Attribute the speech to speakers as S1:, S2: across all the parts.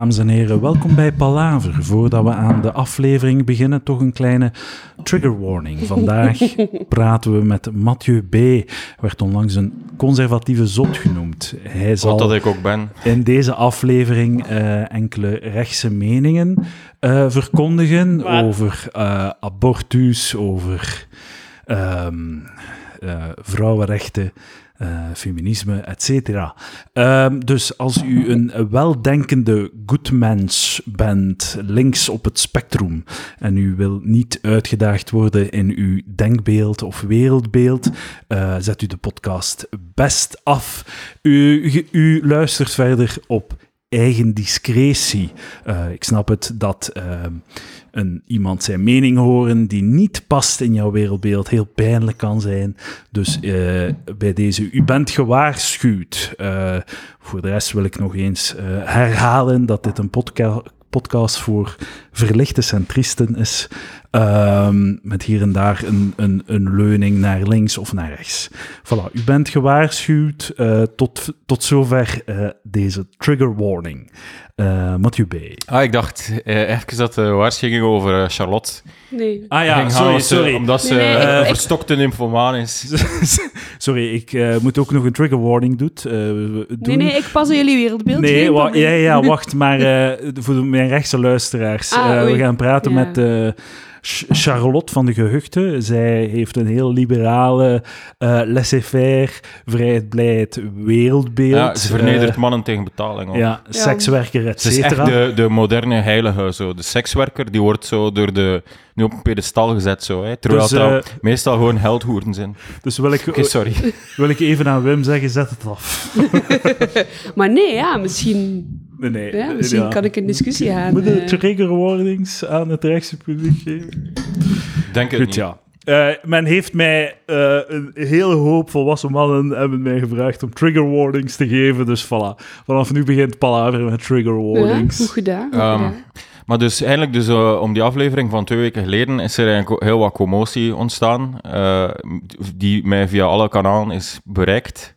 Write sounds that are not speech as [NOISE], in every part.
S1: Dames en heren, welkom bij Palaver. Voordat we aan de aflevering beginnen, toch een kleine trigger warning. Vandaag praten we met Mathieu B. Werd onlangs een conservatieve zot genoemd. Hij
S2: Wat dat
S1: zal
S2: ik ook ben.
S1: in deze aflevering eh, enkele rechtse meningen eh, verkondigen
S3: Wat?
S1: over eh, abortus, over ehm, eh, vrouwenrechten. eh, feminisme, et cetera. Ehm, dus als u een weldenkende good mens bent, links op het spectrum, en u wil niet uitgedaagd worden in uw denkbeeld of wereldbeeld, eh, zet u de podcast best af. U, ge- u luistert verder op eigen discretie. Eh, ik snap het dat ehm, een, iemand zijn mening horen die niet past in jouw wereldbeeld heel pijnlijk kan zijn. Dus eh, bij deze, u bent gewaarschuwd. Eh, voor de rest wil ik nog eens eh, herhalen dat dit een podca- podcast voor verlichte centristen is. Ehm, met hier en daar een, een, een leuning naar links of naar rechts. Voilà, u bent gewaarschuwd. Eh, tot, tot zover eh, deze trigger warning. Eh Mathieu B.
S2: Ah, ik dacht eh, even dat de waarschuwing over eh, Charlotte
S3: Nee.
S1: Ah
S2: ging gaan, omdat ze- omdat ze
S3: Nee, nee,
S2: eh,
S3: ik- ik-
S2: verstokte nymphomaan is.
S1: [LAUGHS] Sorry, ik eh, moet ook nog een trigger warning doet, eh, doen.
S3: nee, nee, ik pas in jullie wereldbeeld.
S1: Nee,
S3: geen
S1: wa-
S3: probleem.
S1: ja,
S3: [LAUGHS]
S1: ja, wacht, maar eh, voor de- mijn rechtse luisteraars.
S3: Ah,
S1: eh, we
S3: oei.
S1: gaan praten
S3: Ja.
S1: met eh, Ch- Charlotte van de Gehuchten. Zij heeft een heel liberale, eh laissez-faire, vrijheid-blijheid wereldbeeld.
S2: Ja, ze vernedert
S1: Eh,
S2: mannen tegen betaling. hoor.
S1: ja, sekswerker, et
S2: Ze is echt
S1: cetera.
S2: de, de moderne heilige. Zo. De sekswerker die wordt zo door de, nu op een pedestal gezet. Zo, hè. Terwijl
S1: Dus,
S2: dat meestal gewoon
S1: [LAUGHS]
S2: heldhoeren zijn.
S1: Dus wil ik,
S2: Oké, sorry.
S1: wil ik even aan Wim zeggen, zet het af.
S3: Maar nee, ja, misschien,
S1: Nee, nee.
S3: ja, misschien
S1: ja.
S3: kan ik een discussie aan.
S1: Moeten we
S3: eh.
S1: trigger warnings aan het rechtse publiek geven?
S2: Denk het
S1: Goed,
S2: niet.
S1: ja. Eh, men heeft mij, eh, een hele hoop volwassen mannen hebben mij gevraagd om trigger warnings te geven. Dus voilà, vanaf nu begint Palaver met trigger
S3: ja,
S1: warnings.
S3: goed gedaan. goed
S2: Ehm,
S3: gedaan.
S2: Maar dus eigenlijk, dus, eh, om die aflevering van twee weken geleden, is er eigenlijk heel wat commotie ontstaan, eh, die mij via alle kanalen is bereikt.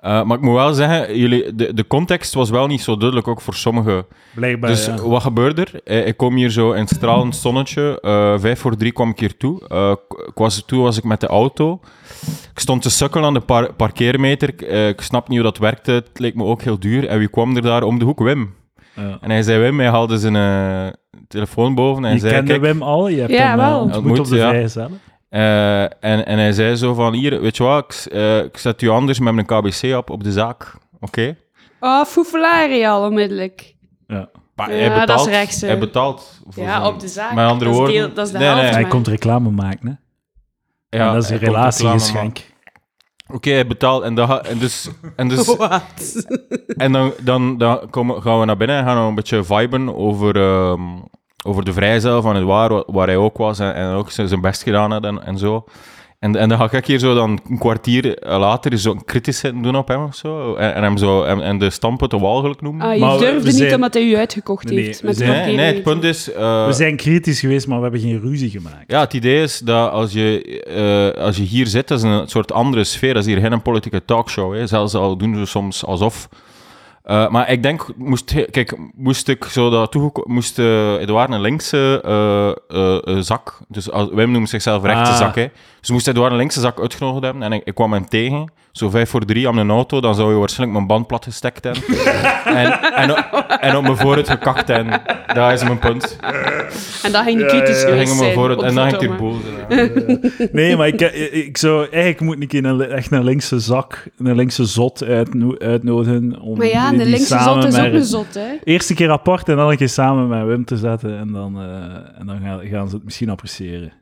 S2: Eh, maar ik moet wel zeggen, jullie, de, de context was wel niet zo duidelijk, ook voor sommigen.
S1: Blijkbaar,
S2: Dus
S1: ja.
S2: wat gebeurde er? Eh, ik kom hier zo in het stralend zonnetje. eh, vijf voor drie kwam ik hier toe. Eh, k- ik was, toen was ik met de auto. Ik stond te sukkelen aan de par- parkeermeter. Ik, eh, ik snap niet hoe dat werkte. Het leek me ook heel duur. En wie kwam er daar om de hoek? Wim.
S1: Ja.
S2: En hij zei Wim, hij haalde zijn eh, telefoon boven en
S1: Je
S2: hij zei...
S1: kende
S2: Kijk,
S1: Wim al, je hebt
S3: Ja,
S1: hem eh,
S3: wel.
S1: ontmoet
S2: Ontmoet,
S1: op de
S2: ja.
S1: vrije cellen.
S2: eh, en, en hij zei zo van, hier, weet je wat, ik, s- eh, ik zet u anders met mijn KBC-app op de zaak. Oké?
S3: Oh, Foefelari al onmiddellijk.
S1: Ja.
S2: Maar
S3: Ja,
S2: hij
S3: dat is
S2: betaalt,
S3: rechts, hè.
S2: Hij betaalt. voor
S3: Ja,
S2: zijn-
S3: op de zaak.
S2: Met andere
S3: dat
S2: woorden...
S3: Is deel, dat is de
S2: Nee, nee,
S3: helft,
S1: Hij
S3: maar-
S1: komt reclame maken, hè.
S2: ja,
S1: en dat is een
S2: hij komt reclame
S1: relatiegeschenk.
S2: maken. Oké, hij betaalt. En, dat, ga- en dus... En dus
S3: [LAUGHS] Wat?
S2: En dan, dan, dan komen, gaan we naar binnen en gaan we een beetje viben over, ehm, over de vrijzel van het waar, wa- waar hij ook was en, en ook zijn zijn best gedaan had en, en zo. En, en dan ga ik hier zo dan een kwartier later zo een kritisch zitten doen op hem of zo. En, en hem zo en, en de stampen te walgelijk noemen.
S3: Ah, je
S1: Maar we- we
S3: durfde niet
S1: zijn-
S3: omdat hij u uitgekocht
S1: Nee,
S3: heeft.
S1: we
S3: Met de
S1: zijn-
S2: nee,
S3: parkering.
S2: nee, het punt is... eh,
S1: We zijn kritisch geweest, maar we hebben geen ruzie gemaakt.
S3: [LAUGHS]
S2: ja, het idee is dat als je, eh, als je hier zit, dat is een soort andere sfeer. Dat is hier geen politieke talkshow. Hè. Zelfs al doen ze soms alsof. Eh, maar ik denk, moest, he- kijk, moest ik zo dat toegeko- moest eh Edouard een linkse eh, eh, eh, zak, dus als, Wim noemt zichzelf rechtse
S1: Ah.
S2: zak, hè. dus moest Edouard een linkse zak uitgenodigd hebben en ik, ik kwam hem tegen, zo vijf voor drie aan een auto, dan zou je waarschijnlijk mijn band plat gestekt hebben en, en, op- en op me vooruit gekakt hebben. Dat is mijn punt.
S3: En dat ging kritisch
S2: Dan ging
S3: geweest
S2: me
S3: zijn.
S2: vooruit
S3: op
S2: en dan ging ik
S3: Foto,
S2: hier
S3: maar-
S2: boos. zijn.
S1: Nee, maar ik, ik ik zou... Eigenlijk moet ik een, li- echt een linkse zak, een linkse zot uitno- uitnodigen. Om
S3: Maar ja,
S1: die-
S3: de
S1: die
S3: linkse
S1: samen
S3: zot is
S1: met-
S3: ook een zot, hè?
S1: Eerste keer apart en dan een keer samen met Wim te zetten. En dan, eh, en dan gaan, gaan ze het misschien appreciëren.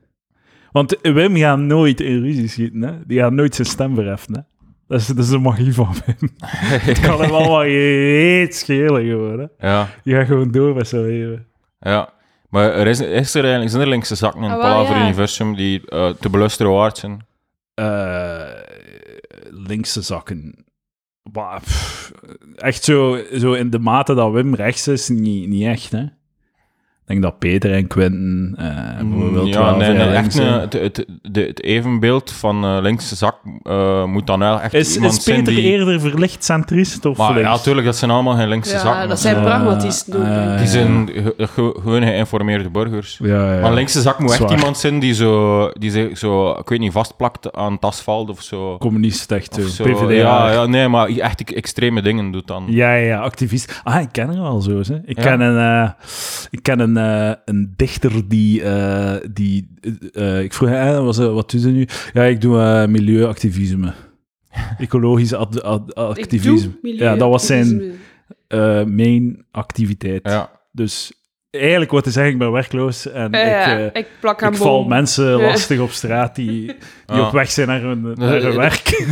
S1: Want Wim gaat nooit in ruzie schieten. Hè? Die gaat nooit zijn stem verheffen. Hè? Dat, is, dat is de magie van [LAUGHS] Wim. Het kan hem allemaal reeds schelen gewoon. Hè?
S2: Ja,
S1: Je gaat gewoon door met zijn leven.
S2: ja. Maar er is, is er eigenlijk zijn er linkse zakken in het
S3: Ah, wel,
S2: Palaver
S3: ja.
S2: Universum die eh, te beluisteren waard zijn?
S1: Eh, linkse zakken. Bah, pff, echt zo, zo in de mate dat Wim rechts is, niet, niet echt. Hè? Ik denk dat Peter en Quinten... eh bijvoorbeeld
S2: Mm, Ja,
S1: wel
S2: nee,
S1: vrij
S2: nee,
S1: links
S2: echt
S1: zijn.
S2: een- het, het, de- het evenbeeld van eh, linkse zak eh, moet dan wel echt
S1: Is,
S2: iemand
S1: is Peter
S2: zijn die...
S1: eerder verlicht centrist of
S2: Maar ja,
S1: links?
S2: natuurlijk, dat zijn allemaal geen linkse
S3: Ja,
S2: zakken.
S3: dat zijn
S1: Eh,
S3: pragmatisten. ook, hè.
S1: eh,
S2: Die zijn ge- ge- gewoon geïnformeerde burgers.
S1: Ja, ja.
S2: Maar linkse zak moet echt
S1: Zwaar.
S2: iemand zijn die, zo, die zich zo, ik weet niet, vastplakt aan het asfalt of zo.
S1: Communist, echt. eh,
S2: Of zo.
S1: PvdA.
S2: Ja, ja, nee, maar echt extreme dingen doet dan.
S1: Ja, ja, ja, activist. Ah, ik ken hem wel zo. Hè. Ik,
S2: Ja.
S1: ken een, eh, ik ken een, eh, een dichter die. eh, die eh, eh, ik vroeg hem, eh, was, eh, wat doe je nu? Ja, ik doe eh,
S2: [LAUGHS]
S1: milieuactivisme. Ecologisch ad- ad-
S3: Ik
S1: activisme.
S3: doe milieu-
S1: ja, dat was zijn
S3: activisme.
S1: eh main activiteit.
S2: Ja.
S1: Dus eigenlijk wat te zeggen, ik ben werkloos en
S3: Ja, ja,
S1: ik, eh,
S3: ik, plak aan
S1: ik val
S3: bom.
S1: mensen
S3: Ja.
S1: lastig op straat die, die
S2: Ah. Ja.
S1: op weg zijn naar hun, naar hun
S2: eh,
S1: werk.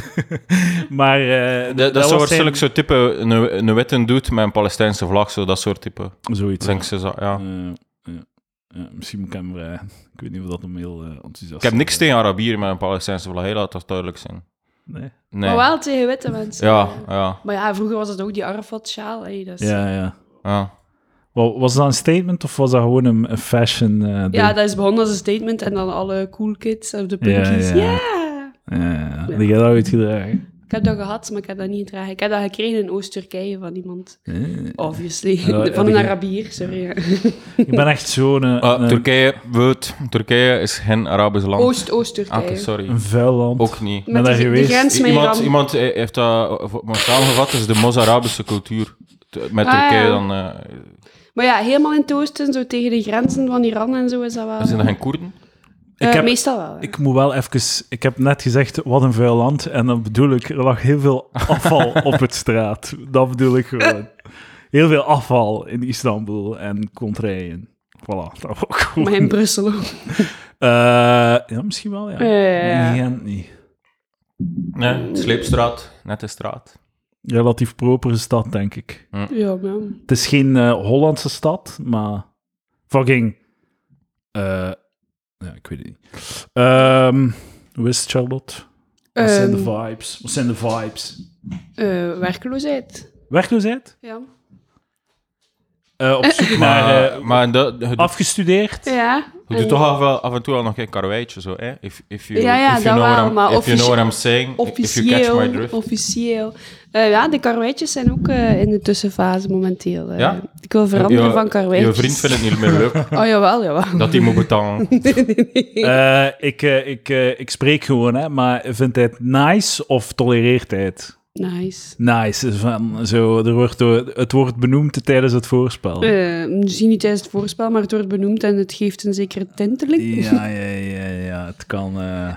S1: [LAUGHS] maar eh,
S2: Dat,
S1: was
S2: dat, zou
S1: zijn-
S2: waarschijnlijk zo'n type, een, een witte doet met een Palestijnse vlag, zo dat soort type.
S1: zoiets.
S2: Linkse zak, ja.
S1: Eh, ja. Ja, misschien moet ik hem vragen. Ik weet niet of dat hem heel eh, enthousiast
S2: Ik heb
S1: is.
S2: niks tegen Arabieren met een Palestijnse vlag, heel laat dat duidelijk zijn.
S1: Nee.
S2: Nee.
S3: Maar wel tegen witte mensen.
S2: Ja, ja,
S3: Maar ja, vroeger was dat ook die Arafat-sjaal. hè, dat is-
S1: Ja, ja.
S2: ja.
S1: Wa- Was dat een statement of was dat gewoon een, een fashion eh, ding?
S3: Ja, dat is begonnen als een statement en dan alle cool kids of de punkies.
S1: ja.
S3: Ja,
S1: Ja, ja. Die heb dat uitgedragen.
S3: Ik heb dat gehad, maar ik heb dat niet gedragen. Ik heb dat gekregen in Oost-Turkije van iemand.
S1: Eh,
S3: Obviously.
S1: Ja,
S3: [LAUGHS] van
S1: heb
S3: een
S1: je-
S3: Arabier, sorry. ja.
S1: Ik ben echt zo'n eh,
S2: Eh,
S1: een,
S2: Turkije, weet, Turkije is geen Arabisch land.
S3: Oost-
S2: Ah,
S3: Oost-Turkije.
S2: oké, sorry.
S1: een vuil land.
S2: Ook niet.
S1: ben
S3: Met
S1: daar
S3: de, de
S1: geweest.
S3: grens
S2: I-
S3: met
S2: Iemand,
S3: Iran.
S2: iemand eh, heeft dat eh, voor- maar samengevat, is de Mos-Arabische cultuur. T- Met
S3: Ah, ja.
S2: Turkije dan... eh,
S3: Maar ja, helemaal in het oosten, zo tegen de grenzen van Iran en zo is dat wel.
S2: zijn dat geen Koerden?
S3: Eh,
S1: Ik heb-
S3: Meestal wel. hè.
S1: Ik moet wel even... Ik heb net gezegd, wat een vuil land. En dan bedoel ik, er lag heel veel afval op het straat. Dat bedoel ik gewoon. Heel veel afval in Istanbul en contraien. Voilà, dat was ook gewoon.
S3: Maar in Brussel ook. [LAUGHS]
S1: Eh, ja, misschien wel, ja.
S3: Ja, ja, ja.
S1: In Gent niet.
S2: Nee, Sleepstraat, nette straat.
S1: Relatief propere stad, denk ik.
S3: Ja, maar...
S1: Het is geen eh, Hollandse stad, maar fucking... eh, ja, ik weet het niet. Ehm hoe is het, Charlotte? Wat zijn de
S3: Ehm,
S1: vibes? Wat zijn de vibes?
S3: eh, werkloosheid.
S1: Werkloosheid?
S3: Ja.
S1: Eh, op [LAUGHS] zoek naar...
S2: Maar,
S1: eh,
S2: maar dat, je, doet,
S1: afgestudeerd?
S3: Ja.
S2: je doet toch af, wel- af en toe al nog een karweitje, zo, hè? If, if you,
S3: Ja, ja,
S2: if you
S3: dat
S2: know
S3: wel,
S2: what I'm-
S3: maar
S2: if you know what
S3: offici-
S2: I'm saying, if you catch my
S3: Officieel.
S2: drift.
S3: Officieel. Eh, ja, de karweitjes zijn ook eh, in de tussenfase momenteel. eh.
S2: Ja?
S3: Ik wil veranderen
S2: Je-
S3: van karweitjes.
S2: Je vriend vindt het niet meer
S3: [LAUGHS]
S2: leuk
S3: Oh, jawel, jawel.
S2: dat hij moet
S3: [LAUGHS]
S2: betalen.
S1: Eh, ik, eh, ik, eh, ik spreek gewoon, hè, maar vindt hij het nice of tolereert hij het?
S3: Nice.
S1: Nice. is Van, zo, er wordt, door- het wordt benoemd tijdens het voorspel.
S3: Eh, misschien niet tijdens het voorspel, maar het wordt benoemd en het geeft een zekere tinteling. [LAUGHS]
S1: Ja, ja, ja, ja. Het kan. eh,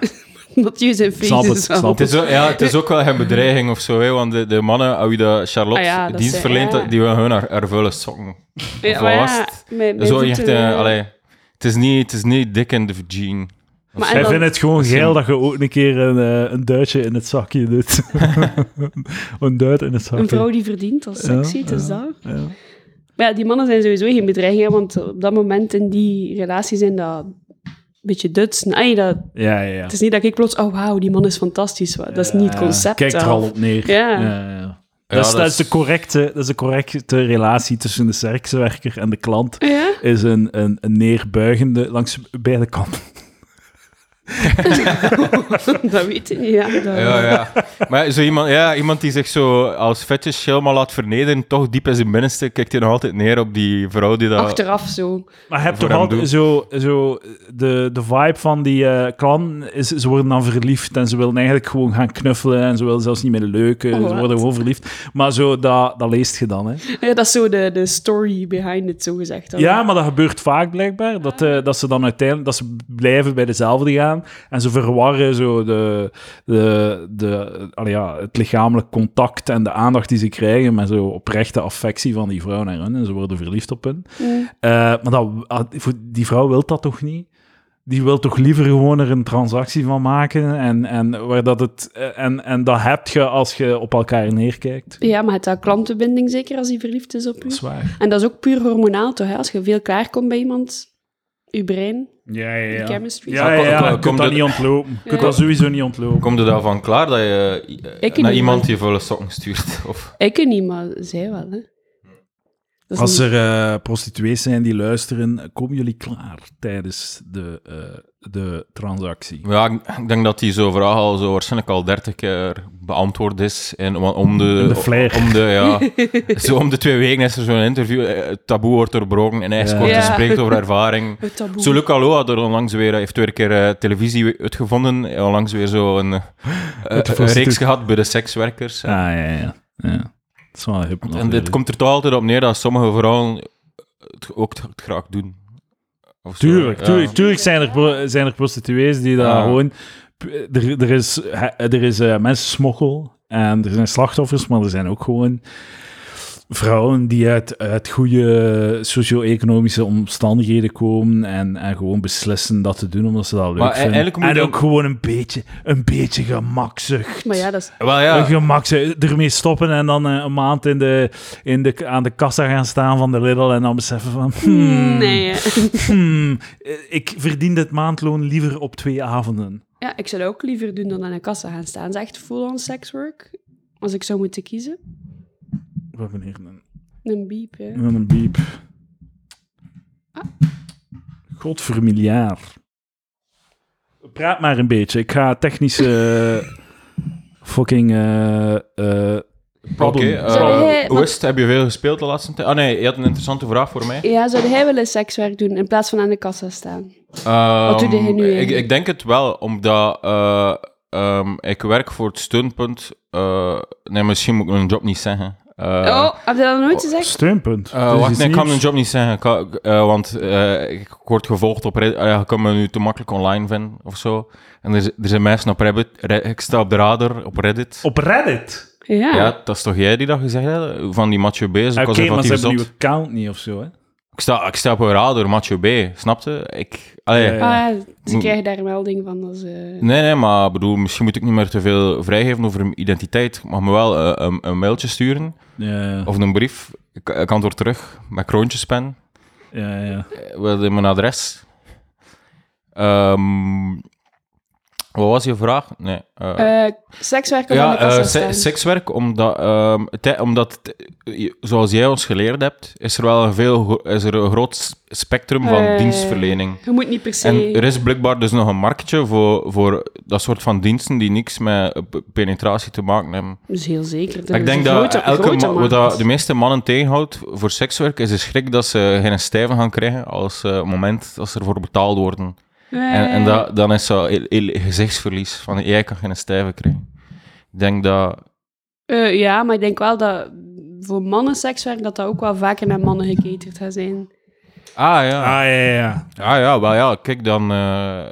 S3: Mathieu zijn
S1: Ik snap
S3: feest
S1: het,
S3: is
S1: ik snap
S2: Het is, ook, ja, het is ook wel geen bedreiging of zo, hè, want de, de mannen aan wie de Charlotte
S3: Ah ja, dat
S2: dienst
S3: zijn-
S2: verleent,
S3: ja.
S2: die willen hun haar, haar vuile sokken.
S3: Ja,
S2: Of
S3: maar
S2: was
S3: ja,
S2: het?
S3: mijn- mijn
S2: Zo echt,
S3: voeten,
S2: eh,
S3: eh,
S2: allee, het is niet, het is niet dik in de jean.
S3: Maar en
S1: Hij
S3: dan-
S1: vindt het gewoon geil dat je ook een keer een, eh, een duitje in het zakje doet. [LAUGHS] een duit in het zakje.
S3: Een vrouw die verdient als
S1: Ja,
S3: sexy, het
S1: ja.
S3: is dat.
S1: Ja.
S3: Maar ja, die mannen zijn sowieso geen bedreiging, hè, want op dat moment in die relatie zijn dat een beetje duts. Nee, dat,
S1: Ja, ja, ja.
S3: het is niet dat ik plots, oh wauw, die man is fantastisch. wa- Dat is niet het concept.
S1: Kijk er
S3: hè.
S1: al op neer.
S3: Ja.
S1: ja, ja. Dat, is,
S2: dat
S1: dat, is
S2: is-
S1: de correcte, dat is de correcte relatie tussen de sekswerker en de klant.
S3: Ja?
S1: Is een, een, een neerbuigende langs beide kanten.
S3: [LAUGHS] dat weet ik niet. Ja, dat-
S2: Ja, ja. Maar zo iemand, ja, iemand die zich zo als fetish helemaal laat vernederen, toch diep in zijn binnenste, kijkt hij nog altijd neer op die vrouw die dat...
S3: Achteraf zo.
S1: Maar heb
S2: Voor
S1: toch
S2: hem
S1: altijd
S2: doen.
S1: zo, zo de, de vibe van die eh klan is, ze worden dan verliefd en ze willen eigenlijk gewoon gaan knuffelen en ze willen zelfs niet meer leuken,
S3: Oh,
S1: ze
S3: wat?
S1: worden gewoon verliefd. Maar zo, dat, dat leest je dan, hè.
S3: Ja, dat is zo de, de story behind it, zo gezegd. dan.
S1: Ja, maar dat gebeurt vaak blijkbaar, dat, eh, dat ze dan uiteindelijk, dat ze blijven bij dezelfde gaan en ze verwarren zo de, de, de, allee, ja, het lichamelijk contact en de aandacht die ze krijgen met zo oprechte affectie van die vrouw naar hun en ze worden verliefd op hun.
S3: Mm.
S1: Eh, maar dat, ah, voor- die vrouw wil dat toch niet? Die wil toch liever gewoon er een transactie van maken en, en, waar dat, het, eh, en, en dat heb je als je op elkaar neerkijkt.
S3: Ja, maar het is klantenbinding zeker als hij verliefd is op u.
S1: Dat is waar.
S3: En dat is ook puur hormonaal, toch? Hè? Als je veel klaarkomt bij iemand, je brein,
S1: Ja,
S3: de chemistry.
S1: Ja, ja,
S2: Kom-
S1: ja, je
S2: kom-
S1: kunt
S2: kom-
S1: dat niet ontlopen. Je kunt
S3: Ja.
S1: dat sowieso niet ontlopen.
S2: Kom je daarvan klaar dat je eh,
S3: Ik
S2: naar
S3: niet,
S2: iemand [LAUGHS]
S3: maar-
S2: die vuile sokken stuurt? Of...
S3: Ik niet, maar zij wel, hè. Dat is
S1: Als
S3: niet-
S1: er eh, prostituees zijn die luisteren, komen jullie klaar tijdens de, eh, de transactie?
S2: Ja, ik- ik denk dat die zo vraag al zo waarschijnlijk al dertig keer beantwoord is. En wa- om de,
S1: In de flair.
S2: Om de, ja,
S3: [LAUGHS]
S2: zo om de twee weken is er zo'n interview. eh, Het taboe wordt doorbroken en hij
S1: Ja.
S2: scoort en
S3: Ja.
S2: spreekt over
S3: [LAUGHS]
S2: ervaring.
S3: Het taboe.
S2: Zo Luc Allo had er onlangs weer, heeft weer een keer eh, televisie uitgevonden. Onlangs weer
S1: [LAUGHS]
S2: zo'n een
S1: prostituut.
S2: reeks gehad bij de sekswerkers.
S1: Ah, ja, ja. ja. Dat is wel hip
S2: En
S1: natuurlijk.
S2: dit komt er toch altijd op neer dat sommige vrouwen het ook het graag doen. Of zo,
S1: Tuurlijk,
S2: ja.
S1: tuurlijk, tuurlijk zijn er, pro- zijn er prostituees die daar
S2: Ja.
S1: gewoon... Er, er is, er is eh, mensensmokkel en er zijn slachtoffers, maar er zijn ook gewoon vrouwen die uit, uit goede socio-economische omstandigheden komen en, en gewoon beslissen dat te doen omdat ze dat leuk
S2: Maar e- eigenlijk
S1: vinden.
S2: moet
S1: En
S2: je
S1: ook
S2: dan-
S1: gewoon een beetje, een beetje gemakzucht.
S3: Maar ja, dat is...
S2: Wel
S1: Een
S2: ja,
S1: gemakzucht. Ermee stoppen en dan eh, een maand in de, in de, aan de kassa gaan staan van de Lidl en dan beseffen van... hmm,
S3: Nee. eh.
S1: Hmm, eh, ik verdien dit maandloon liever op twee avonden.
S3: [LAUGHS] Ja, ik zou dat ook liever doen dan aan een kassa gaan staan. Dat is echt full-on sekswork. Als ik zou moeten kiezen.
S1: We hebben hier een,
S3: Een biep, hè.
S1: een een biep. Godvermiljaar. Praat maar een beetje. Ik ga technische eh, fucking eh eh
S2: oké.
S1: problem-
S2: eh,
S3: Zou jij-
S2: hoe is het? Heb je veel gespeeld de laatste tijd? Ah nee, je had een interessante vraag voor mij.
S3: Ja, zou jij willen sekswerk doen in plaats van aan de kassa staan?
S2: Wat
S3: doe jij nu
S2: Ehm, Ik,
S3: eigenlijk?
S2: ik denk het wel, omdat eh, ehm, ik werk voor het steunpunt. eh, nee, misschien moet ik mijn job niet zeggen. Eh,
S3: oh, heb je dat nog nooit gezegd?
S1: steunpunt.
S2: eh,
S1: Dat is
S2: wacht,
S1: iets
S2: nee, ik kan mijn
S1: nieuws.
S2: job niet zeggen, Ik kan- eh, want eh, ik word gevolgd op Reddit. Eh, je kan me nu te makkelijk online vinden of zo. En er, z- er zijn mensen op Reddit. Re- ik sta op de radar op Reddit.
S1: Op Reddit.
S3: Ja.
S2: Ja, dat is toch jij die dat gezegd hebt? Van die Mathieu B.
S1: Oké, maar ze
S2: conservatieve
S1: hebben een
S2: zot.
S1: nieuwe account niet of zo. Hè?
S2: Ik sta, ik sta op een radar, Mathieu B. Snapte? Ik... Allee,
S1: Ja, ja.
S3: Ah, ja, ze
S2: Moet-
S3: krijgen daar een melding van. Dat ze...
S2: Nee, nee, maar bedoel, misschien moet ik niet meer te veel vrijgeven over mijn identiteit. Ik mag me wel eh, een, een mailtje sturen
S1: Ja,
S2: of een brief. Ik, ik antwoord terug met kroontjespen.
S1: ja, ja.
S2: Eh, Wel in mijn adres. Ehm, wat was je vraag? Nee. eh,
S3: Eh, sekswerk of aan
S2: ja,
S3: de kassa
S2: eh, se-
S3: staan?
S2: sekswerk, omdat, ehm, tij- omdat het- je- zoals jij ons geleerd hebt, is er wel een, veel, gro- is er een groot s- spectrum van
S3: Eh,
S2: dienstverlening.
S3: Je moet niet per se...
S2: En er is blijkbaar dus nog een marktje voor, voor dat soort van diensten die niks met eh, p- penetratie te maken hebben.
S3: Dat is heel zeker.
S2: ik denk dat elke ma- wat dat
S3: dat
S2: de meeste mannen tegenhoudt voor sekswerk is de schrik dat ze geen stijven gaan krijgen als eh, op het moment dat ze ervoor betaald worden. En,
S3: Eh,
S2: en dat, dan is zo heel, heel gezichtsverlies van jij kan geen stijven krijgen. Ik denk dat
S3: Eh, ja, maar ik denk wel dat voor mannen sekswerk dat dat ook wel vaker naar mannen gecaterd gaat zijn.
S2: Ah
S1: Ah, ja,
S2: ja.
S1: ja, ja.
S2: Ah ja, wel ja, kijk dan. eh, eh,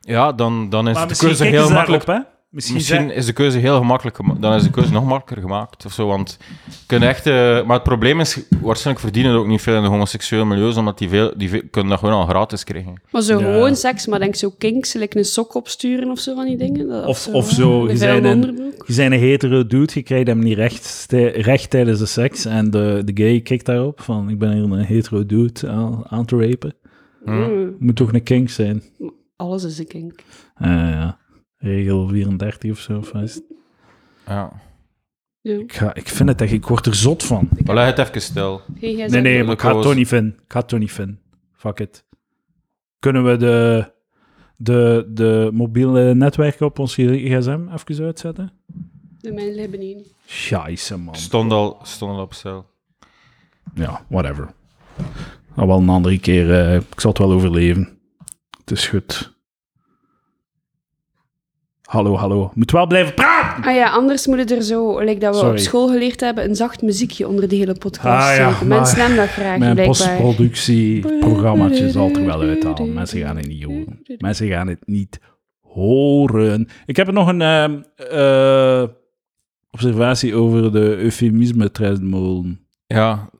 S2: ja, dan, dan is
S1: Maar
S2: de
S1: misschien
S2: keuze
S1: kijken
S2: heel
S1: ze
S2: makkelijk.
S1: daarop, hè? Misschien,
S2: Misschien is de keuze heel gemakkelijk gema- Dan is de keuze nog makkelijker gemaakt of zo. Want je kunt echt, eh, maar het probleem is, waarschijnlijk verdienen er ook niet veel in de homoseksuele milieus, omdat die, veel, die ve- kunnen dat gewoon al gratis krijgen.
S3: Maar zo
S1: Ja.
S3: gewoon seks, maar denk zo kinks, like een sok opsturen of zo van die dingen. Dat-
S1: Of- of zo,
S3: Een
S1: je
S3: vuil
S1: zei een-
S3: onderbroek.
S1: Je zijn een hetero dude, je krijgt hem niet recht, ste- recht tijdens de seks. En de, de gay kikt daarop van, ik ben hier een hetero dude aan, aan te rapen.
S2: Hm.
S3: Mm,
S1: Moet toch een kink zijn?
S3: Alles is een kink.
S1: Eh, ja. Regel 34 of zo. of wat is het?
S2: Ja.
S3: Ja.
S1: Ik, ga, ik vind het echt, ik word er zot van.
S2: Maar leg het even stil.
S3: Geen gsm.
S1: Nee, nee, maar ik
S2: dat
S1: ga het
S2: was-
S1: toch niet vinden. Ik ga het toch niet vinden. Fuck it. Kunnen we de, de, de mobiele netwerken op ons gsm even uitzetten?
S3: De mijne hebben niet.
S1: Scheisse, man.
S2: Stond al, stond al op stil.
S1: Ja, whatever. Nou, wel een andere keer. eh, ik zal het wel overleven. Het is goed. Hallo, hallo. Moet wel blijven praten!
S3: Ah ja, anders moet het er zo, like dat we
S1: Sorry.
S3: op school geleerd hebben, een zacht muziekje onder de hele podcast.
S1: Ah ja,
S3: steken. Mensen
S1: maar
S3: hebben dat graag,
S1: Mijn
S3: blijkbaar.
S1: postproductieprogrammaatje zal het er wel uithalen. Mensen gaan het niet horen. Mensen gaan het niet horen. Ik heb nog een ehm, eh, observatie over de eufemisme trendmolen.
S2: Ja,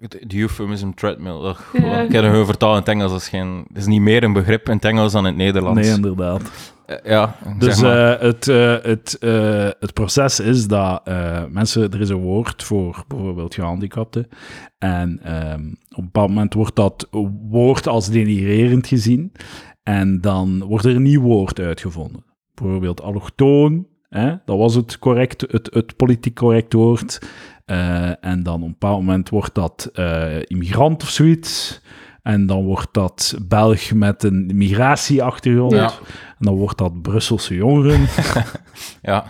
S2: de de euphemism treadmill. ugh,
S3: Ja.
S2: Ik heb een heel vertaal in het Engels. Dat is, geen, dat is niet meer een begrip in het Engels dan in het Nederlands.
S1: Nee, inderdaad.
S2: Eh, ja,
S1: Dus
S2: zeg maar.
S1: eh, het, eh, het, eh, het proces is dat eh, mensen, er is een woord voor bijvoorbeeld gehandicapten. En ehm, op een bepaald moment wordt dat woord als denigrerend gezien. En dan wordt er een nieuw woord uitgevonden. Bijvoorbeeld allochtoon, hè? dat was het, correct, het, het politiek correct woord. Eh, en dan op een bepaald moment wordt dat eh, immigrant of zoiets. En dan wordt dat Belg met een migratieachtergrond.
S3: Ja.
S1: En dan wordt dat Brusselse jongeren.
S2: Ja.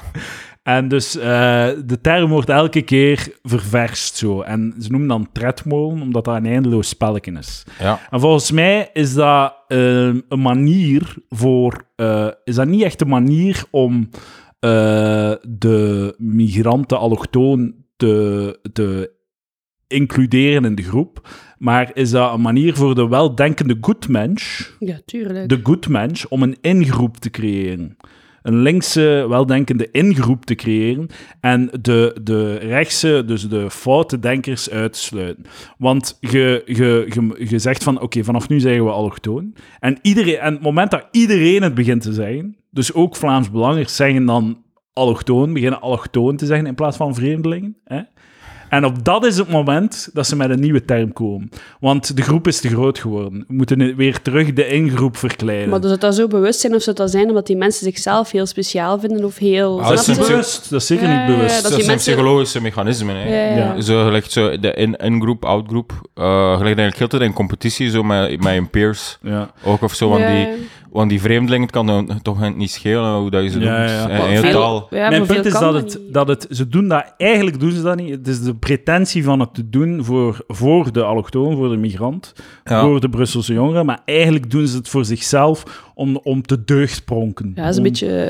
S1: En dus eh, de term wordt elke keer ververst zo. En ze noemen dan tredmolen, omdat dat een eindeloos spelletje is.
S2: Ja.
S1: En volgens mij is dat eh, een manier voor... eh, is dat niet echt een manier om eh, de migranten allochtoon te, te includeren in de groep, maar is dat een manier voor de weldenkende goedmensch
S3: Ja, tuurlijk.
S1: de good mensch om een ingroep te creëren. Een linkse, weldenkende ingroep te creëren en de, de rechtse, dus de foute denkers uitsluiten. Want je, je, je, je zegt van, oké, vanaf nu zeggen we allochtoon. En, iedereen, en het moment dat iedereen het begint te zeggen, dus ook Vlaams Belangers zeggen dan allochtoon, beginnen allochtoon te zeggen in plaats van vreemdelingen. Hè? En op dat is het moment dat ze met een nieuwe term komen. Want de groep is te groot geworden. We moeten weer terug de ingroep verkleinen.
S3: Maar dus het dat zo bewust zijn of zou dat zijn omdat die mensen zichzelf heel speciaal vinden of heel...
S2: Ah,
S1: dat
S2: dat
S1: is
S3: Snap
S1: niet
S3: je?
S1: bewust.
S2: natuurlijk-
S1: Dat is zeker
S3: Ja,
S1: niet bewust.
S3: ja,
S2: Dat,
S3: die
S2: zijn
S3: mensen-
S2: psychologische mechanismen. Hè.
S3: Ja, ja, ja.
S2: Zo, gelijk zo, de in- in-groep, out-groep. eh, gelijk eigenlijk heel de tijd in competitie, zo met, met je peers
S1: Ja.
S2: ook of zo. Want,
S3: Ja, ja.
S2: die, want die vreemdeling het kan dan toch niet schelen hoe dat je ze
S1: Ja,
S2: doet. Eh,
S1: ja.
S2: En- en
S3: Veel-
S2: heel taal.
S3: Ja,
S1: Mijn
S3: maar
S1: punt
S3: veel
S1: is
S3: kan
S1: dat
S3: dat
S1: het,
S3: niet.
S1: dat het... Ze doen dat... Eigenlijk doen ze dat niet. Het is de pretentie van het te doen voor, voor de allochtoon, voor de migrant,
S2: Ja.
S1: voor de Brusselse jongeren. Maar eigenlijk doen ze het voor zichzelf om, om te deugdpronken.
S3: Ja, dat is een
S1: Om-
S3: beetje...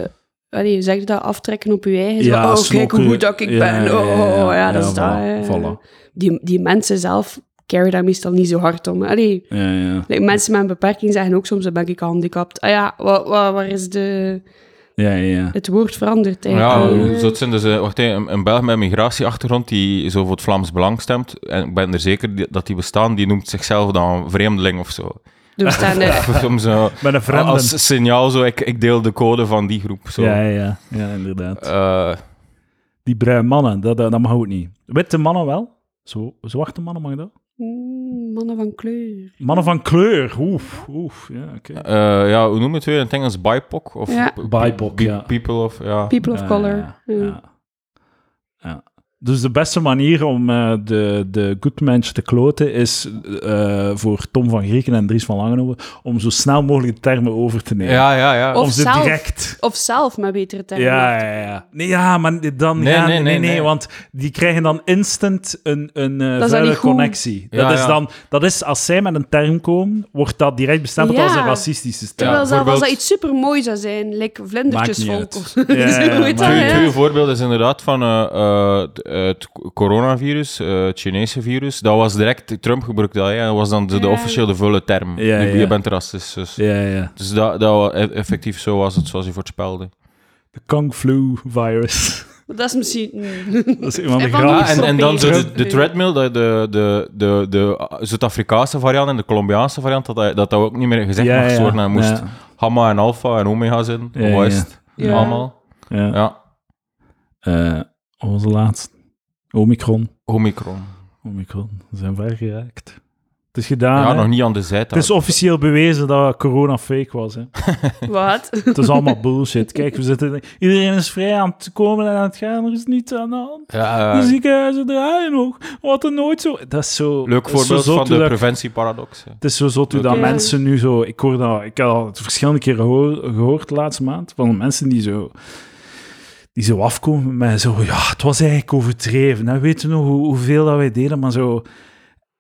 S3: eh, Allee, zeg je dat? Aftrekken op je eigen. Zo,
S1: Mm. Ja,
S3: oh, kijk
S1: snokken.
S3: hoe goed dat ik
S1: Ja,
S3: ben.
S1: ja,
S3: Oh,
S1: ja,
S3: ja,
S1: ja.
S3: dat
S1: Ja,
S3: is
S1: voilà,
S3: dat.
S1: voilà.
S3: eh. Die, die mensen zelf carry daar meestal niet zo hard om. Allee,
S1: Ja, ja.
S3: like, mensen met een beperking zeggen ook soms, dan ben ik gehandicapt. Ah ja, wa, wa- waar is de...
S1: Ja, ja, ja.
S3: Het woord verandert
S2: Ja,
S3: eigenlijk. Eh,
S2: zo het zijn dus, eh, wacht, hè, een, een Belg met migratieachtergrond die zo voor het Vlaams Belang stemt, en ik ben er zeker die- dat die bestaan, die noemt zichzelf dan vreemdeling of zo.
S3: er
S1: [LAUGHS]
S3: bestaan, eh,
S2: [LAUGHS] Om zo
S1: Met een vreemden.
S2: als signaal, zo, ik, ik deel de code van die groep. Zo.
S1: Ja, ja, ja. Ja, inderdaad.
S2: Eh,
S1: Die bruine mannen, dat, dat, dat mag ook niet. Witte mannen wel. Zo, zwarte mannen mag dat.
S3: mm, mannen van kleur.
S1: Mannen van kleur. Oef, oef. Ja, oké.
S2: eh, ja, hoe noem je het weer in het Engels? BIPOC? Of
S3: Ja.
S1: BIPOC, ja.
S2: People of... Ja.
S3: People of
S1: Ja,
S3: color. Hmm.
S1: ja,
S3: Ja.
S1: ja. Ja. Dus de beste manier om eh, de, de good mensch te kloten is eh, voor Tom van Grieken en Dries van Langenhoven om zo snel mogelijk de termen over te nemen.
S2: ja, ja, ja.
S1: om
S3: Of
S1: ze
S3: zelf.
S1: direct.
S3: Of zelf met betere termen.
S1: Ja, ja, ja. Nee, ja, maar dan
S2: Nee,
S1: gaan,
S2: nee,
S1: nee,
S2: nee,
S1: nee,
S2: nee.
S1: want die krijgen dan instant een, een eh,
S3: dan
S1: vuile
S3: niet goed.
S1: connectie.
S2: Ja,
S1: dat, is
S2: ja.
S1: dan, dat is, als zij met een term komen, wordt dat direct bestempeld
S3: Ja.
S1: als een racistische term.
S3: Terwijl zelf als dat
S2: bijvoorbeeld-
S3: iets supermoois zou zijn, like vlindertjesvolk
S1: Maakt
S3: of [LAUGHS]
S1: niet
S3: zo.
S1: uit. Ja, ja,
S3: Hoe heet
S1: maakt
S3: dat,
S2: Twee,
S1: niet
S3: hè?
S2: twee voorbeelden is inderdaad van eh, eh, het- het coronavirus, eh, het Chinese virus. Dat was direct, Trump gebruikte dat, ja. dat was dan de, de
S3: Ja.
S2: officiële vuile term.
S1: Ja,
S2: je,
S1: ja.
S2: je bent racistisch. Dus,
S1: Ja, ja.
S2: dus dat, dat wa- e- effectief zo was het, zoals je voorspelde.
S1: De Kung Flu virus. [LAUGHS]
S3: Maar Dat is misschien... hmm.
S1: dat is een van de
S3: En van
S1: graafste
S3: die
S2: Ah, en, en dan zo de, de
S3: Trompeten.
S2: treadmill, de, de, de, de, de Zuid-Afrikaanse variant en de Colombiaanse variant, dat dat, dat dat ook niet meer gezegd
S1: Ja,
S2: mocht
S1: ja.
S2: worden. Hij moest
S1: Ja.
S2: gamma en alpha en omega zijn.
S1: Ja,
S2: Hoe
S1: ja.
S2: is het?
S3: Ja.
S2: Allemaal.
S1: Ja.
S2: Ja,
S1: Eh, onze laatste. Omicron.
S2: omikron.
S1: Omicron. We zijn ver geraakt. Het is gedaan.
S2: Ja,
S1: Ah, hè?
S2: nog niet aan de zijde.
S1: Het is officieel bewezen dat corona fake was. Hè.
S3: [LAUGHS] Wat?
S1: Het is allemaal bullshit. Kijk, we zitten, iedereen is vrij aan het komen en aan het gaan. Er is niets aan de hand.
S2: Ja,
S1: De
S2: eh,
S1: ziekenhuizen draaien nog. Wat er nooit zo. Dat is zo.
S2: Leuk
S1: dat is zo
S2: voorbeeld
S1: zot
S2: van
S1: hoe
S2: de
S1: dat-
S2: preventieparadox. hè.
S1: Het is zo zot hoe
S2: Oké.
S1: dat
S3: Ja.
S1: mensen nu zo... Ik, hoor dat, ik heb dat verschillende keren gehoor- gehoord de laatste maand, van mensen die zo... Die zo afkomen met zo... Ja, het was eigenlijk overdreven. Hè. Weet je nog hoe, hoeveel dat wij deden? Maar zo...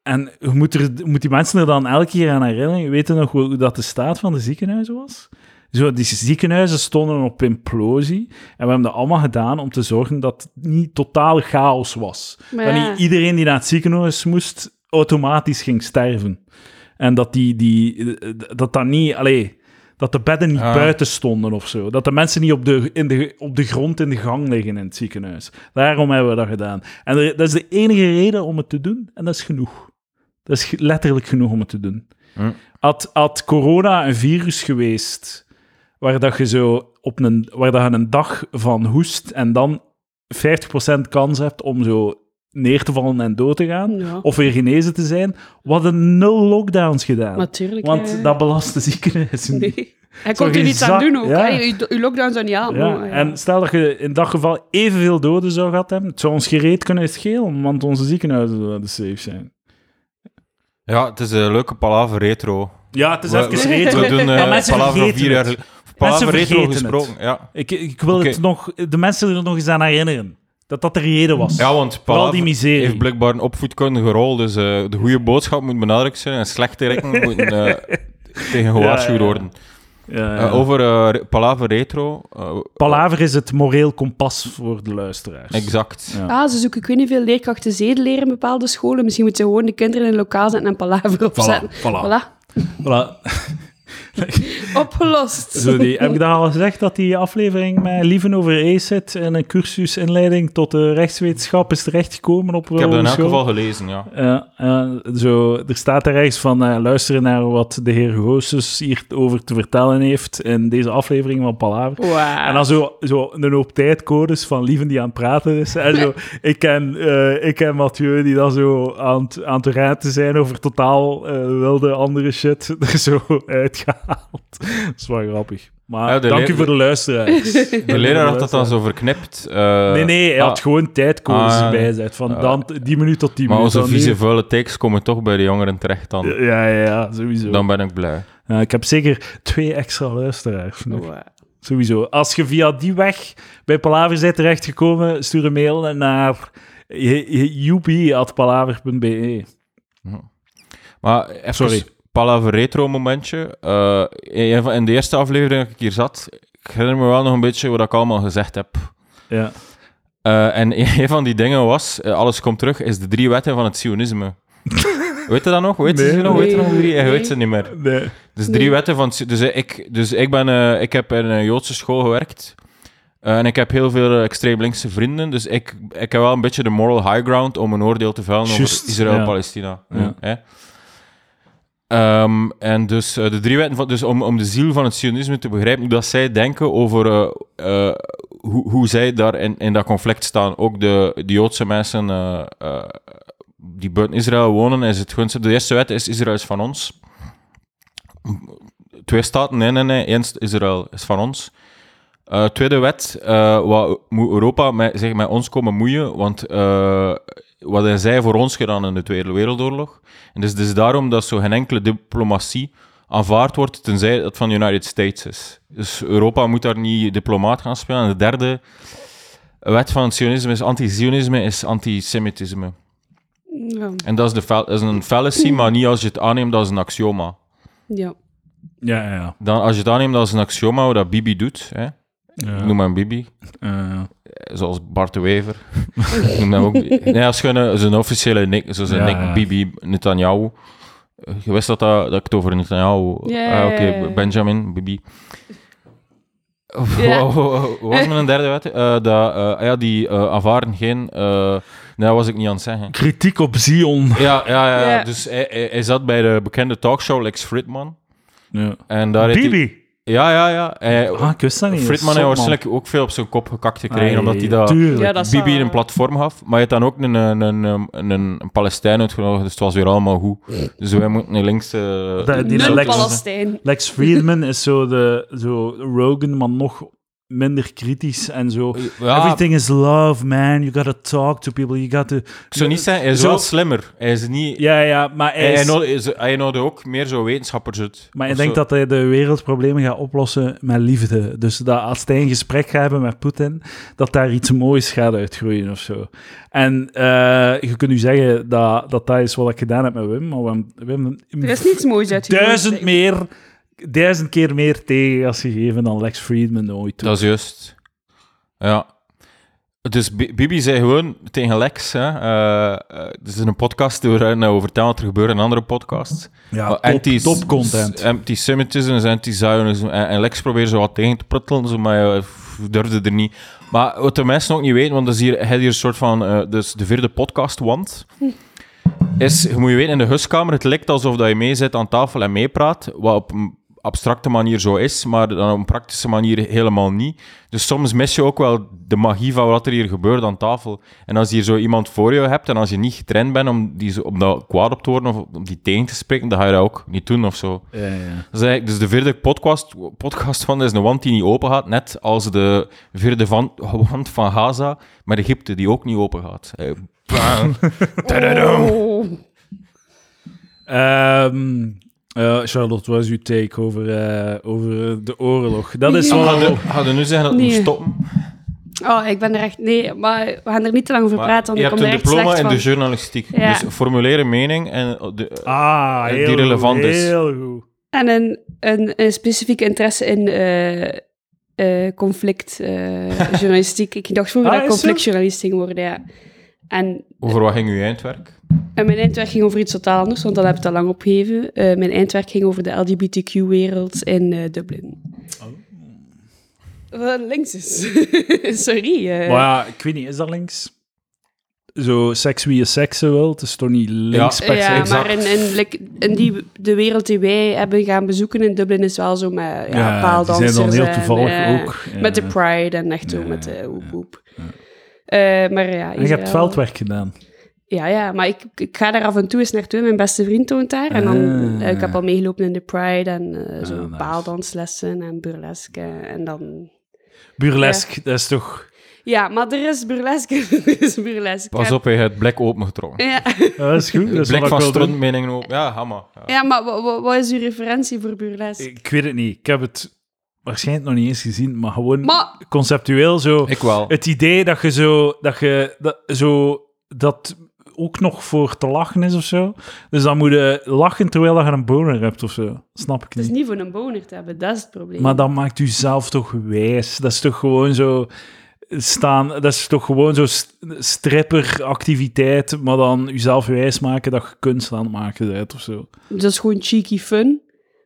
S1: En je moet, er, moet die mensen er dan elke keer aan herinneren. Weet je nog hoe, hoe dat de staat van de ziekenhuizen was? Zo, die ziekenhuizen stonden op implosie. En we hebben dat allemaal gedaan om te zorgen dat het niet totaal chaos was.
S3: Maar
S1: Dat
S3: ja.
S1: niet iedereen die naar het ziekenhuis moest, automatisch ging sterven. En dat die, die dat, dat niet, allee, dat de bedden niet
S2: Ja.
S1: buiten stonden of zo. Dat de mensen niet op de, in de, op de grond in de gang liggen in het ziekenhuis. Daarom hebben we dat gedaan. En er- dat is de enige reden om het te doen. En dat is genoeg. Dat is ge- letterlijk genoeg om het te doen.
S2: Hm.
S1: Had, had corona een virus geweest waar dat je zo op een, waar dat je een dag van hoest en dan 50% kans hebt om zo neer te vallen en dood te gaan,
S3: Ja.
S1: of weer genezen te zijn, wat een nul lockdowns gedaan. [LAUGHS]
S3: Natuurlijk.
S1: Want dat belast de ziekenhuizen niet.
S3: Nee. [LAUGHS]
S1: Zou
S3: Hij kon er
S1: geen
S3: niets aan
S1: zak-
S3: doen ook.
S1: ja.
S3: Allee, uw, uw lockdown zou niet aan.
S1: Ja, en stel dat je in dat geval evenveel doden zou gehad hebben, het zou ons gereed kunnen schelen, want onze ziekenhuizen zouden dus safe zijn.
S2: Ja, het is een leuke palaver retro.
S1: Ja, het is
S2: We-
S1: even
S2: we-
S1: retro.
S2: We doen eh,
S1: Maar mensen
S2: palaver van
S1: vergeten
S2: vier jaar...
S1: het.
S2: gel- Palaver
S1: vergeten
S2: retro
S1: het.
S2: gesproken, ja.
S1: Ik, ik wil
S2: Oké.
S1: het nog, de mensen er nog eens aan herinneren. Dat dat de reden was.
S2: Ja, want
S1: Vooral die
S2: palaver
S1: miserie.
S2: heeft blijkbaar een opvoedkundige rol, dus eh, de goede boodschap moet benadrukt zijn en
S1: [LAUGHS]
S2: slechte rekken moet eh, tegen gewaarschuwd
S1: Ja, ja.
S2: worden.
S1: Ja, ja.
S2: Eh, over eh, re- palaver retro... eh,
S1: Palaver is het moreel kompas voor de luisteraars.
S2: Exact.
S1: Ja.
S3: Ah, ze zoeken ik weet niet veel leerkrachten zedenleren in bepaalde scholen. Misschien moeten ze gewoon de kinderen in een lokaal zetten en palaver opzetten.
S1: voilà. Ah. Voilà.
S3: Opgelost.
S1: Zo
S2: [LAUGHS]
S1: die, heb ik daar al gezegd dat die aflevering met Lieven over ACID en een cursus inleiding tot de rechtswetenschap is terechtgekomen op
S2: Ik heb dat in elk
S1: hogeschool?
S2: geval gelezen, ja.
S1: Eh, eh, zo, er staat er ergens van eh, luisteren naar wat de heer Goossens hierover te vertellen heeft in deze aflevering van Palaver.
S3: Wauw.
S1: En dan zo, zo een hoop tijdcodes van Lieven die aan het praten is. En zo, ik, ken, eh ik ken Mathieu die dan zo aan het, aan het raten zijn over totaal eh, wilde andere shit [LAUGHS] er zo uitgehaald. Dat is wel grappig. Maar
S2: Ja, de
S1: dank
S2: leer-
S1: u voor de luisteraars.
S2: [LAUGHS] De leraar had dat dan zo verknipt. eh,
S1: Nee, nee, hij
S2: ah,
S1: had gewoon tijdcodes
S2: Ah, ja.
S1: erbij gezet. Van
S2: Ah.
S1: dan, die minuut tot die
S2: Maar
S1: minuut.
S2: onze
S1: dan die-
S2: vieze, vuile takes komen toch bij de jongeren terecht dan.
S1: Ja, ja, ja, sowieso.
S2: Dan ben ik blij.
S1: Ja, ik heb zeker twee extra luisteraars. nog.
S3: Wauw.
S1: Sowieso. Als je via die weg bij Palaver bent terechtgekomen, stuur een mail naar joepie.palaver.be.
S2: Maar even
S1: Sorry.
S2: Palaver retro momentje. Eh, een van- in de eerste aflevering dat ik hier zat, ik herinner me wel nog een beetje wat ik allemaal gezegd heb.
S1: Ja.
S2: Eh, en [LAUGHS] een van die dingen was, eh, alles komt terug, is de drie wetten van
S1: [LAUGHS]
S2: het sionisme. weet je dat nog? Weet je ze
S1: Nee.
S2: nog? Weet je nog die drie? Je
S3: Nee.
S2: weet ze niet meer.
S1: Nee.
S2: Dus drie wetten van... Dus ik, dus ik, ben, eh, ik heb in een Joodse school gewerkt. Eh, en ik heb heel veel eh, extreem linkse vrienden. Dus ik, ik heb wel een beetje de moral high ground om een oordeel te vellen over
S1: Juist, ja.
S2: Israël-Palestina.
S1: Ja.
S2: Hè? Ehm, en dus eh, de drie wetten... Van, dus om, om de ziel van het sionisme te begrijpen, hoe dat zij denken over... eh, eh, hoe, hoe zij daar in, in dat conflict staan. Ook de, de Joodse mensen eh, eh, die buiten Israël wonen, is het gewoon... De eerste wet is Israël is van ons. Twee staten, nee, nee, nee. Eens Israël is van ons. Eh, tweede wet, eh, wat moet Europa met, zich met ons komen moeien? Want eh, wat hebben zij voor ons gedaan in de Tweede Wereldoorlog? En dus het is daarom dat zo geen enkele diplomatie aanvaard wordt, tenzij dat van de United States is. Dus Europa moet daar niet diplomaat gaan spelen. En de derde wet van het sionisme is anti-sionisme, is antisemitisme.
S3: Ja.
S2: En dat is, de fel- dat is een fallacy, maar niet als je het aanneemt als een axioma.
S3: ja.
S1: Ja, ja, ja.
S2: Dan, als je het aanneemt als een axioma, wat dat Bibi doet, hè?
S1: ja.
S2: ik noem hem Bibi,
S1: ja.
S2: zoals Bart de Wever. Ik noem hem ook.
S1: [LAUGHS]
S2: Nee, als je een, zijn officiële nick, zo zijn
S1: Ja,
S2: nick
S1: ja.
S2: Bibi Netanyahu. Eh, Je wist dat, dat, dat ik het over Netanyahu.
S3: Ja,
S2: Ah, Oké,
S3: ja, ja.
S2: Benjamin Bibi.
S3: Ja.
S2: Wat- wat- wat was mijn derde wet? Eh, dat, eh, ja, die eh aanvaarden geen. eh, nee, dat was ik niet aan het zeggen.
S1: Kritiek op Zion.
S2: Ja, ja, ja,
S3: Ja.
S2: dus hij, hij- hij zat bij de bekende talkshow Lex Fridman.
S1: Ja.
S2: En daar heeft hij-
S1: Bibi.
S2: ja, ja, ja. Hij-
S1: Ah, ik wist dat niet.
S2: Fridman heeft waarschijnlijk ook veel op zijn kop gekakt gekregen, omdat hij dat...
S1: Tuurlijk.
S3: Ja, dat is
S2: Bibi
S3: wel-
S2: een platform gaf, maar je hebt dan ook een, een, een, een, een- een Palestijn uitgenodigd, dus het was weer allemaal goed. Dus wij moeten een linkse...
S1: Dat- Eh, die
S3: Nul
S1: Lex-
S3: Palestijn.
S1: Lex Friedman is zo, de, zo Rogan, maar nog minder kritisch en zo.
S2: Ja,
S1: Everything is love, man. You gotta talk to people. You gotta...
S2: ik zou niet zeggen, hij is
S1: Zo-
S2: wel slimmer. Hij is niet...
S1: Ja, ja, maar hij
S2: hij,
S1: is-
S2: hij nodig- is- hij nodig ook meer zo wetenschappers uit.
S1: Maar ik
S2: Of
S1: denk
S2: zo.
S1: dat hij de wereldproblemen gaat oplossen met liefde. Dus dat als hij een gesprek gaat hebben met Poetin, dat daar iets moois gaat uitgroeien of zo. En eh, je kunt nu zeggen dat, dat dat is wat ik gedaan heb met Wim, maar we hebben, we hebben
S3: Er is niets moois uit.
S1: duizend, meer, duizend keer meer tegengas gegeven dan Lex Friedman ooit.
S2: Dat is juist. Ja. Dus Bi- Bibi zei gewoon tegen Lex, hè, eh, eh, dit is een podcast die we nou over vertellen wat er gebeurt in andere podcasts.
S1: ja,
S2: Maar
S1: top, top content.
S2: Anti-Semitism en anti-Zionism. En, en Lex probeert zo wat tegen te pruttelen, zo, maar ja, f- durfde er niet. Maar wat de mensen ook niet weten, want dat is hier, hij had hier een soort van... eh, dus de vierde podcast, want... Is, je moet je weten, in de huskamer, het lijkt alsof dat je mee zit aan tafel en meepraat, wat op een abstracte manier zo is, maar dan op een praktische manier helemaal niet. Dus soms mis je ook wel de magie van wat er hier gebeurt aan tafel. En als je hier zo iemand voor je hebt en als je niet getraind bent om, die, zo- om dat kwaad op te worden of om die tegen te spreken, dan ga je dat ook niet doen of zo.
S1: Ja, ja.
S2: Dat is eigenlijk dus de vierde podcast, podcast van is een wand die niet open gaat. Net als de vierde van, wand van Gaza met Egypte die ook niet open gaat. Eh, bam.
S3: Oh.
S1: Ehm, eh, Charlotte, wat is uw take over, eh, over de oorlog? Dat is
S2: Ga
S1: wel...
S2: je- Ga je nu zeggen dat het
S3: Nee.
S2: moet stoppen?
S3: Oh, ik ben er echt... Nee, maar we gaan er niet te lang over
S2: Maar
S3: praten,
S2: je
S3: want ik
S2: hebt
S3: kom
S2: een diploma
S3: er echt slecht
S2: in
S3: van.
S2: de journalistiek.
S3: Ja.
S2: Dus formuleer een mening en eh, de,
S1: Ah,
S2: Die
S1: heel goed,
S2: relevant is.
S1: Heel goed.
S3: En een, een, een specifieke interesse in eh, eh,
S1: [LAUGHS]
S3: conflictjournalistiek. ik dacht vroeger
S1: Ah,
S3: dat ik
S1: is zo?
S3: conflictjournalist ging worden, ja. En,
S2: over wat ging uw eindwerk?
S3: en mijn eindwerk ging over iets totaal anders, want dat heb ik al lang opgegeven. Eh, mijn eindwerk ging over de LGBTQ-wereld in eh, Dublin. Oh. Wat links is. [LAUGHS] Sorry. eh.
S1: Maar ja, ik weet niet, is dat links? Zo, seks wie je seksen wil, het is toch niet links
S2: Ja,
S1: per se?
S3: ja,
S2: exact.
S3: maar in, in, like, in die, de wereld die wij hebben gaan bezoeken in Dublin is wel zo met ja,
S1: Ja, die
S3: paaldansers
S1: zijn dan heel
S3: en,
S1: toevallig
S3: eh,
S1: ook. ja.
S3: Met de pride en echt zo
S1: Ja,
S3: met de
S1: ja,
S3: hoep
S1: ja,
S3: hoep. Eh, maar ja,
S1: En je hebt
S3: Israël-
S1: veldwerk gedaan.
S3: Ja, ja, maar ik, ik ga daar af en toe eens naartoe. Mijn beste vriend woont daar. En dan,
S1: Ah.
S3: eh, ik heb al meegelopen in de Pride en eh zo
S1: Ah, nice.
S3: paaldanslessen en burlesque. En dan...
S1: Burlesque, dat is toch...
S3: Ja, maar er is burlesque. [LAUGHS] er is burlesque.
S2: Pas op, je hebt het blik opengetrokken.
S3: Ja,
S1: Ja, dat is goed. Dat is
S2: Het
S1: wat
S2: blik
S1: ik
S2: van
S1: wil doen.
S2: strontmeningen open. Ja, hammer. Ja.
S3: ja maar wa- wa- wat is uw referentie voor burlesque?
S1: Ik weet het niet. Ik heb het waarschijnlijk nog niet eens gezien, maar gewoon
S3: Maar
S1: conceptueel zo...
S2: Ik wel.
S1: Het idee dat je zo... Dat je dat, zo... Dat ook nog voor te lachen is of zo. Dus dan moet je lachen terwijl je een boner hebt of zo. Snap ik
S3: het is
S1: niet.
S3: niet voor een boner te hebben, dat is het probleem.
S1: Maar dat maakt u zelf toch wijs. Dat is toch gewoon zo staan. Dat is toch gewoon zo st- stripperactiviteit, maar dan uzelf wijs maken dat je kunst aan het maken bent of zo.
S3: Dat is gewoon cheeky fun.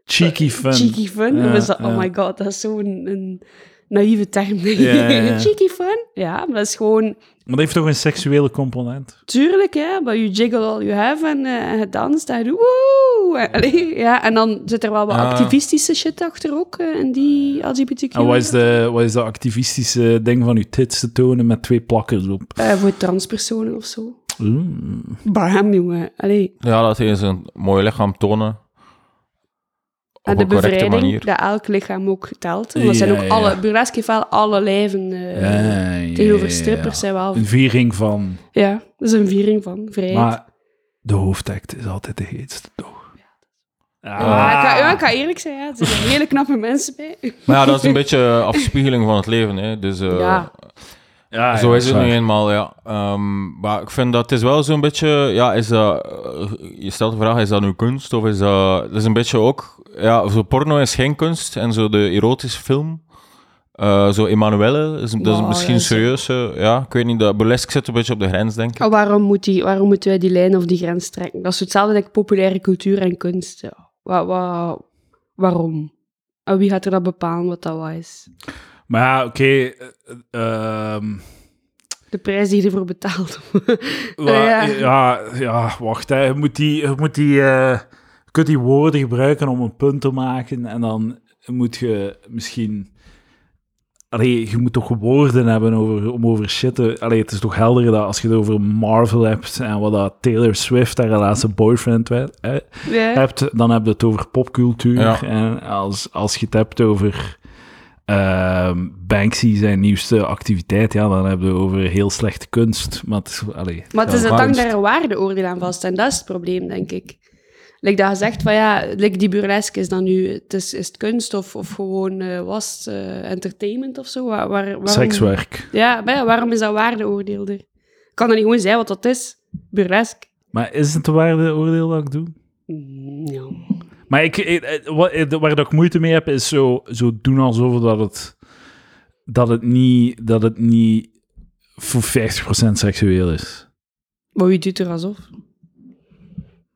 S1: Cheeky fun.
S3: Eh, Cheeky fun?
S1: Ja,
S3: Was dat-
S1: ja.
S3: Oh my god, dat is zo'n een naïeve term.
S1: Ja, ja.
S3: [LAUGHS] cheeky fun? Ja, maar dat is gewoon...
S1: Maar dat heeft toch een seksuele component.
S3: Tuurlijk, hè, maar you jiggle all you have en eh, en je danst en je doet woe. En, allee, ja, en dan zit er wel wat
S2: Ah.
S3: activistische shit achter ook, en in die LGBTQ.
S1: En wat is, de, wat is dat activistische ding van uw tits te tonen met twee plakkers op?
S3: Eh, voor transpersonen of zo.
S1: Mm.
S3: Bam, jongen. Allee.
S2: Ja, dat is een mooi lichaam tonen. Op
S3: En de
S2: een correcte
S3: bevrijding,
S2: manier.
S3: dat elk lichaam ook telt. hè. Want zijn
S1: Ja,
S3: ook
S1: ja.
S3: alle, burlesque heeft wel alle lijven eh, tegenover strippers. Zijn wel,
S1: Een viering van.
S3: ja, dat is een viering van vrijheid.
S1: Maar de hoofdact is altijd de heetste, toch? Ah.
S3: Ja, ik, ga, ja, ik ga eerlijk zijn, ja, er zijn hele knappe mensen bij.
S2: Maar ja,
S3: [LAUGHS]
S2: dat is een beetje eh, afspiegeling van het leven. Hè. Dus eh,
S3: Ja.
S1: Ja,
S2: zo
S1: Ah, ja,
S2: is het
S1: waar.
S2: nu eenmaal, ja. Ehm, maar ik vind dat het is wel zo'n beetje... Ja, is dat, eh, je stelt de vraag, is dat nu kunst? Of is dat... Dat is een beetje ook... Ja, zo porno is geen kunst. En zo de erotische film... eh, zo Emanuelle, is, dat is Oh,
S3: Wow,
S2: misschien
S3: ja,
S2: een
S3: zo.
S2: serieuze... Ja, ik weet niet, dat burlesque zit een beetje op de grens, denk ik.
S3: Maar Ah, waarom, moet die, waarom moeten wij die lijn of die grens trekken? Dat is hetzelfde als populaire cultuur en kunst. Ja. Wa- wa- waarom? En wie gaat er dat bepalen wat dat wat is?
S1: Maar ja, oké. eh, eh, ehm,
S3: De prijs die je ervoor betaalt. [LAUGHS]
S1: wa-
S3: ja.
S1: ja. Ja, wacht. Hè. Je, moet die, je, moet die, eh, je kunt die woorden gebruiken om een punt te maken. En dan moet je misschien. Allee, je moet toch woorden hebben over, om over shit te... Allee, het is toch helder dat als je het over Marvel hebt en wat dat Taylor Swift, haar laatste boyfriend, werd, hè,
S3: ja.
S1: hebt, dan heb je het over popcultuur.
S2: Ja.
S1: En als, als je het hebt over ehm, Banksy, zijn nieuwste activiteit, ja, dan heb je het over heel slechte kunst. Maar het is, allee,
S3: Maar het is
S1: ja,
S2: dat
S3: het hangt
S2: kunst.
S3: daar een waardeoordeel aan vast. En dat is het probleem, denk ik. Like dat je zegt van ja, like die burlesque is dan nu... Het is, is het kunst of, of gewoon eh, was het eh, entertainment of zo? Waar, waar, waarom-
S1: sekswerk.
S3: Ja, maar ja, waarom is dat waardeoordeel er? Kan dat niet gewoon zijn wat dat is? Burlesque?
S1: Maar is het de waarde oordeel dat ik doe?
S3: Mm, ja.
S1: Maar ik, ik- eh, wat- eh, waar dat ik moeite mee heb, is zo, zo doen alsof dat het, dat het niet... Dat het niet voor 50% seksueel is.
S3: Maar wie doet er alsof?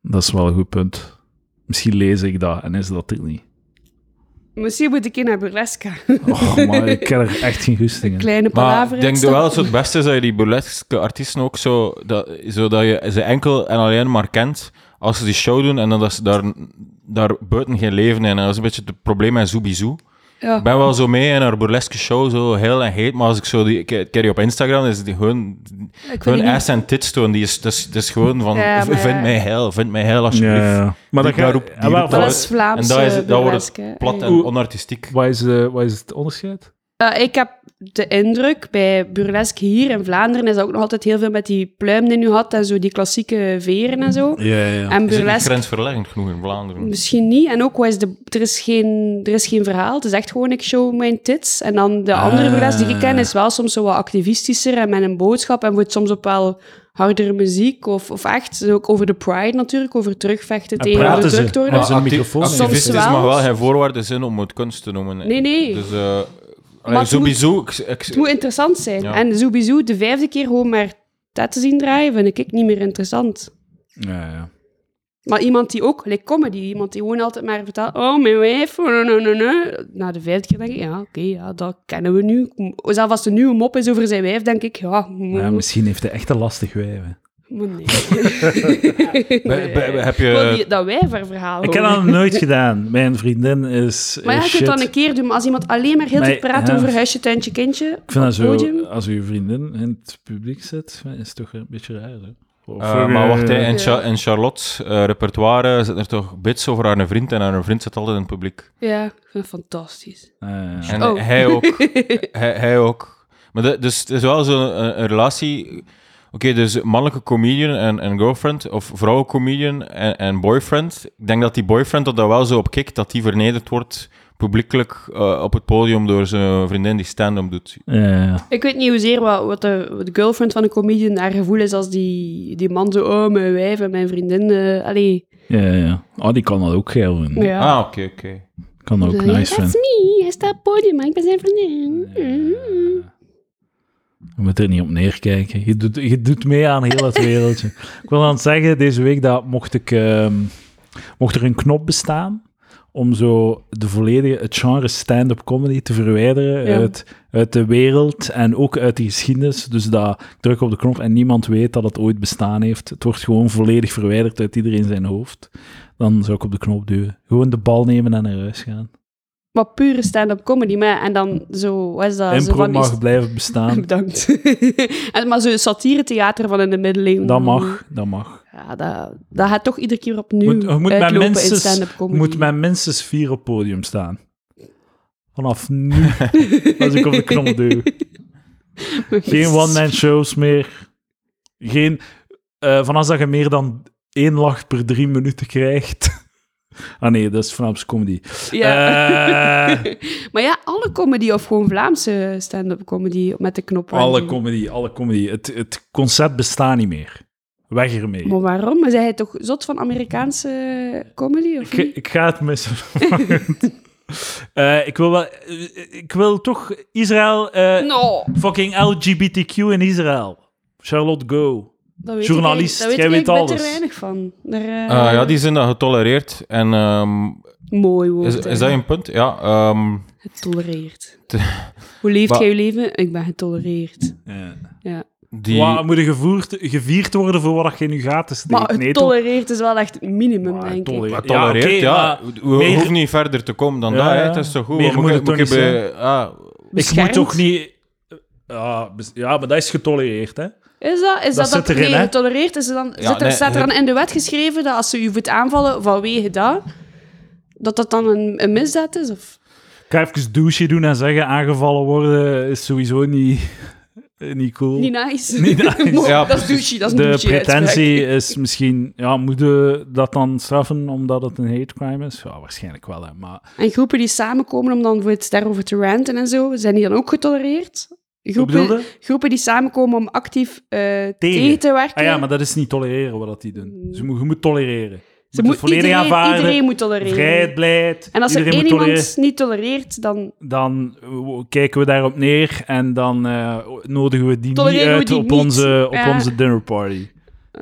S1: Dat is wel een goed punt. Misschien lees ik dat en is dat er niet.
S3: Misschien moet ik in naar burlesque. [LAUGHS]
S1: Oh, maar ik ken er echt geen goesting in.
S3: Kleine
S2: Maar
S3: palaver.
S2: ik denk dat wel dat het beste is dat je die burlesque artiesten ook zo... Dat, zodat je ze enkel en alleen maar kent als ze die show doen en dan dat ze daar daar buiten geen leven in. En dat is een beetje het probleem met Zoubizou. Ik
S3: Ja.
S2: ben wel zo mee in haar burleske show, zo heel en heet, maar als ik zo die... Ik ik ken die op Instagram, is die gewoon...
S3: Ik weet
S2: Hun
S3: het niet.
S2: ass en tits toon, die is, dat is, dat is gewoon van,
S3: Ja,
S2: v-
S3: maar-
S2: vind mij heil, vind mij heil
S1: Ja,
S2: alsjeblieft.
S1: ja, ja. Maar dat
S2: Die
S1: gaat
S2: roept- die
S1: ah, wel,
S2: roept
S3: Dat
S2: dat-
S1: wat-
S3: is Vlaams
S2: en dat is-
S3: eh,
S2: dat wordt
S3: burleske, hè.
S2: Plat en
S1: Oeh.
S2: onartistiek.
S1: wat, is, eh, wat is het onderscheid?
S3: Eh, ik heb de indruk, bij burlesque hier in Vlaanderen is dat ook nog altijd heel veel met die pluim die nu had en zo, die klassieke veren en zo.
S1: Ja, ja.
S3: En
S2: Is het niet
S3: burlesque Dus
S2: grensverleggend genoeg in Vlaanderen?
S3: misschien niet. En ook, wat is de, er, is geen, er is geen verhaal. Het is echt gewoon, ik show mijn tits. En dan de andere
S1: Ah.
S3: burlesque die ik ken is wel soms zo wat activistischer en met een boodschap. En wordt soms ook wel hardere muziek of, of echt. Ook over de pride natuurlijk, over terugvechten
S1: En
S3: tegen
S1: praten
S3: de
S1: ze?
S3: druktoren.
S1: Als een
S2: Acti-
S1: microfoon
S3: heeft.
S2: Activistisch
S3: Soms wel.
S2: mag wel geen voorwaarde zijn om het kunst te noemen.
S3: Nee, nee.
S2: Dus, eh, allee,
S3: moet-
S2: sowieso... ik- ik-
S3: Het moet interessant zijn.
S2: Ja.
S3: En sowieso de vijfde keer gewoon maar dat te zien draaien, vind ik niet meer interessant.
S1: ja, ja.
S3: Maar iemand die ook, like comedy, iemand die gewoon altijd maar vertelt, oh, mijn wijf, oh, no, no, no, no. Na de vijfde keer denk ik, ja, oké, ja, dat kennen we nu. Zelfs als de nieuwe mop is over zijn wijf, denk ik, ja, mm,
S1: Ja, misschien heeft hij echt een lastig wijf. hè.
S3: maar nee.
S2: Bij- bij- bij- heb
S3: Ik wil
S2: je...
S3: die- dat wijververhaal.
S1: eh, Ik heb dat nog nooit gedaan. Mijn vriendin is.
S3: Oh. Maar ja,
S1: is
S3: je kunt
S1: shit.
S3: dan een keer doen, maar als iemand alleen maar heel
S1: Maar-
S3: tijd praat
S1: ja.
S3: over huisje, tuintje, kindje,
S1: Ik vind dat
S3: op
S1: zo,
S3: het podium.
S1: als uw vriendin in het publiek zit, is het toch een beetje raar. Hè? Of-
S2: eh, maar wacht, hè, in,
S3: Ja.
S2: Cha- in Charlotte's eh, repertoire zitten er toch bits over haar vriend en haar vriend zit altijd in het publiek.
S3: Ja, ik vind dat fantastisch.
S1: Ah, ja.
S2: En
S3: Oh.
S2: hij
S3: [LAUGHS]
S2: ook. hij, hij ook. Maar dat, dus het is wel zo'n een, een relatie. Oké, dus mannelijke comedian en, en girlfriend, of vrouwelijke comedian en, en boyfriend. Ik denk dat die boyfriend dat daar wel zo op kikt, dat die vernederd wordt publiekelijk eh, op het podium door zijn vriendin die stand-up doet.
S1: Ja, ja.
S3: Ik weet niet hoezeer wat, wat, de, wat de girlfriend van een comedian haar gevoel is als die, die man zo, oh, mijn wijf en mijn vriendin, eh allee.
S1: ja, ja. Oh, die kan dat ook geil vinden.
S3: Ja.
S2: Ah, oké, oké.
S1: Kan dat ook
S3: Ja,
S1: nice
S3: That's
S1: vinden.
S3: me. Hij staat op het podium, maar ik ben zijn vriendin. Mm.
S1: Je moet er niet op neerkijken. Je doet, je doet mee aan heel het wereldje. ik wil dan zeggen, deze week dat mocht, ik, ehm, mocht er een knop bestaan om zo de volledige, het genre stand-up comedy te verwijderen
S3: Ja.
S1: uit, uit de wereld en ook uit de geschiedenis. Dus dat ik druk op de knop en niemand weet dat het ooit bestaan heeft. Het wordt gewoon volledig verwijderd uit iedereen zijn hoofd. Dan zou ik op de knop duwen. Gewoon de bal nemen en naar huis gaan.
S3: Maar pure stand-up comedy, maar en dan zo, wat is dat? zo
S1: Impro
S3: van
S1: mag blijven bestaan.
S3: [LAUGHS] Bedankt. en, maar zo'n satiretheater van in de middeleeuwen.
S1: Dat mag, dat mag.
S3: Ja, dat, dat gaat toch iedere keer opnieuw
S1: Moet- je moet met
S3: uitlopen in
S1: minstens-
S3: stand-up comedy.
S1: moet mijn minstens vier op het podium staan. Vanaf
S3: [LAUGHS]
S1: nu, als ik op de knop duw. Geen one-man shows meer. Geen, eh vanaf dat je meer dan één lach per drie minuten krijgt. [LAUGHS] Ah nee, dat is Vlaamse comedy.
S3: Ja. [LAUGHS]
S1: Eh.
S3: maar ja, alle comedy of gewoon Vlaamse stand-up comedy met de knop. aan
S1: Alle
S3: die-
S1: comedy, alle comedy. Het, het concept bestaat niet meer. Weg ermee.
S3: Maar waarom? Maar Zijn jij toch zot van Amerikaanse comedy? Of
S1: Ik,
S3: niet?
S1: ik ga het
S3: [LAUGHS]
S1: missen. Eh, ik, wil wel, ik wil toch Israël eh,
S3: No.
S1: Fucking LGBTQ in Israël. Charlotte Go.
S3: Dat weet
S1: Journalist,
S3: ik, eigenlijk-
S1: jij weet
S3: dat weet ik eigenlijk
S1: alles.
S3: bitter weinig van. Daar,
S2: Ah,
S3: eh,
S2: ja, die zijn dat getolereerd. En ehm,
S3: Mooi woord.
S2: is,
S3: hè.
S2: is dat een punt? Ja. ehm,
S1: [LAUGHS]
S3: Getolereerd.
S2: Te-
S3: Hoe leeft
S2: Wa-
S3: jij je leven? Ik ben getolereerd. Ja.
S2: die,
S1: Wat, moet je gevoerd, gevierd worden voor wat je nu gaat te steken?
S3: Maar het
S1: Nee, toch?
S3: tolereert is wel echt het minimum,
S1: Maar
S3: denk ik.
S1: tolereert.
S2: Maar tolereert,
S1: oké,
S2: ja.
S1: maar
S2: We
S1: meer-
S2: hoeven niet verder te komen dan
S1: Ja,
S2: dat. Hè.
S1: ja.
S2: Het is toch goed.
S1: Meer
S2: Wat
S1: moet het
S2: ik-
S1: toch
S2: ik
S1: niet
S2: bij- ah,
S1: ik
S3: Beschermd?
S1: moet toch niet... Ja, bes- ja, maar dat is getolereerd, hè?
S3: Is dat?
S1: Dat
S3: Is dat,
S1: zit erin,
S3: nee,
S1: hè?
S3: getolereerd is er dan,
S2: Ja,
S3: zit er,
S2: nee,
S3: staat er dan in de wet geschreven dat als ze u voet aanvallen vanwege dat, dat dat dan een, een misdaad is? Of?
S1: Ik ga even douche doen en zeggen aangevallen worden is sowieso niet, eh, niet cool.
S3: Niet nice. [LAUGHS]
S1: Niet nice.
S3: Maar
S2: Ja,
S3: dat is
S2: precies.
S3: douche, dat is een
S1: de
S3: douche-uitspraak.
S1: pretentie is misschien... Ja, moeten dat dan straffen omdat het een hate crime is? Ja, waarschijnlijk wel, hè. Maar
S3: En groepen die samenkomen om dan bijvoorbeeld daarover te ranten en zo, zijn die dan ook getolereerd?
S1: bedoel
S3: Groepen,
S1: je?
S3: groepen die samenkomen om actief eh, tegen. te werken.
S1: Ah ja, maar dat is niet tolereren wat dat die doen. Ze moet, je moet tolereren. Je
S3: Ze
S1: moet
S3: moet
S1: het volledig
S3: iedereen,
S1: aanvaarden.
S3: iedereen moet tolereren.
S1: Vrijheid, blijheid.
S3: en als er
S1: iedereen
S3: één
S1: moet
S3: iemand
S1: tolereren.
S3: niet tolereert, dan
S1: Dan eh, kijken we daarop neer en dan eh, nodigen we die
S3: Tolereren
S1: niet
S3: we
S1: uit
S3: die
S1: op,
S3: niet.
S1: Onze, op
S3: Ja.
S1: onze dinnerparty.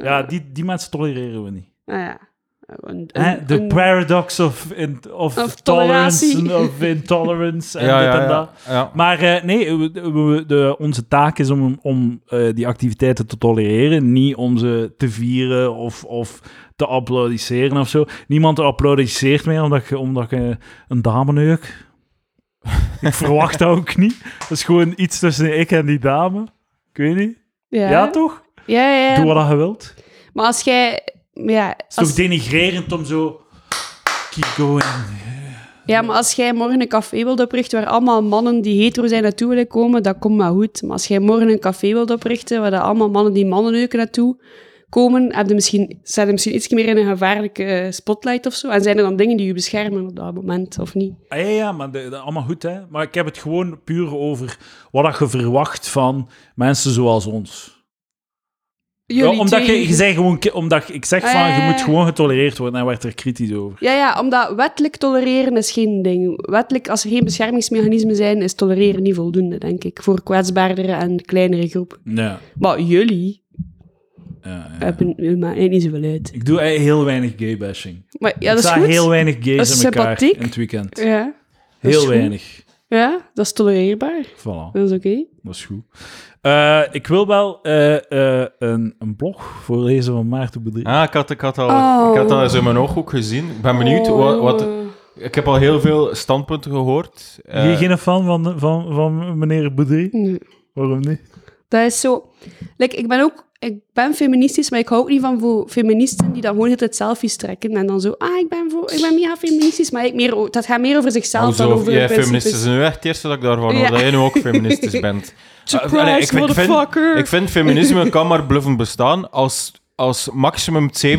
S1: Ja, die, die mensen tolereren we niet.
S3: nou ja, oké. een,
S1: Hè,
S3: een-
S1: The
S3: een-
S1: paradox of, in, of,
S3: Of
S1: tolerance
S3: tolerantie.
S1: en of intolerance en
S2: ja,
S1: dit
S2: ja,
S1: en dat.
S2: ja, ja.
S1: Maar eh, nee, we- we- de- onze taak is om, om eh, die activiteiten te tolereren, niet om ze te vieren of, of te applaudisseren of zo. Niemand applaudisseert meer omdat je, omdat je een dame neukt. [LAUGHS] Ik verwacht dat ook niet. Dat is gewoon iets tussen ik en die dame. Ik weet niet.
S3: Ja,
S1: Ja,
S3: ja,
S1: toch?
S3: ja. ja.
S1: Doe wat je wilt. Het
S3: Maar als jij... Ja,
S1: is
S3: als-
S1: toch denigrerend om zo... Keep going.
S3: ja, maar als jij morgen een café wilt oprichten waar allemaal mannen die hetero zijn naartoe willen komen, dat komt maar goed. Maar als jij morgen een café wilt oprichten waar dat allemaal mannen die mannen neuken naartoe komen, heb je misschien, zijn er misschien iets meer in een gevaarlijke eh, spotlight of zo. En zijn er dan dingen die je beschermen op dat moment, of niet?
S1: Ah, Ja, ja, maar de, de- allemaal goed, hè. Maar ik heb het gewoon puur over wat dat je verwacht van mensen zoals ons. Ja, omdat je, je zei gewoon, ki- omdat ik zeg
S3: Ah,
S1: van,
S3: ja, ja,
S1: je moet
S3: ja.
S1: gewoon getolereerd worden. En werd er kritisch over.
S3: Ja, ja, omdat wettelijk tolereren is geen ding. Wettelijk, als er geen beschermingsmechanismen zijn, is tolereren niet voldoende, denk ik. Voor kwetsbaardere en kleinere groepen.
S1: Ja,
S3: Maar jullie
S1: ja, ja.
S3: hebben u maakt eigenlijk niet zoveel uit.
S1: Ik doe eh, heel weinig gaybashing.
S3: Maar ja,
S1: ik
S3: dat is
S1: sta
S3: goed.
S1: heel weinig
S3: Dat
S1: gays
S3: is
S1: in elkaar
S3: sympathiek.
S1: in het weekend.
S3: Ja. dat is
S1: Heel
S3: goed.
S1: weinig.
S3: ja, dat is tolereerbaar.
S1: Voilà,
S3: Dat is oké.
S1: dat is goed. Eh, ik wil wel eh, eh, een, een blog voorlezen van Maarten Bedrie.
S2: Ah, ik had, ik had al,
S3: Oh.
S2: ik had al eens in mijn ooghoek gezien. Ik ben benieuwd.
S1: Oh.
S2: Wat, wat, ik heb al heel veel standpunten gehoord. Eh,
S1: Ben je geen fan van, van, van meneer Bedrie?
S3: Nee.
S1: Waarom niet?
S3: Dat is zo... Like, ik ben ook... Ik ben feministisch, maar ik hou ook niet van voor feministen die dan gewoon altijd selfies trekken en dan zo... Ah, ik ben, voor, ik ben mega feministisch, maar ik meer, o- dat gaat meer over zichzelf dan
S2: Hoezo?
S3: over
S2: Oh, Jij
S3: hun
S2: feminist
S3: principes.
S2: is nu echt het eerste dat ik daarvan hoor,
S3: Ja.
S2: dat jij nu
S1: [LAUGHS]
S2: ook feministisch bent.
S3: Surprise,
S2: Eh, allee, ik vind- ik vind-
S3: motherfucker!
S2: Ik vind
S1: [LAUGHS]
S2: feminisme kan maar bluffen bestaan als, als maximum 70%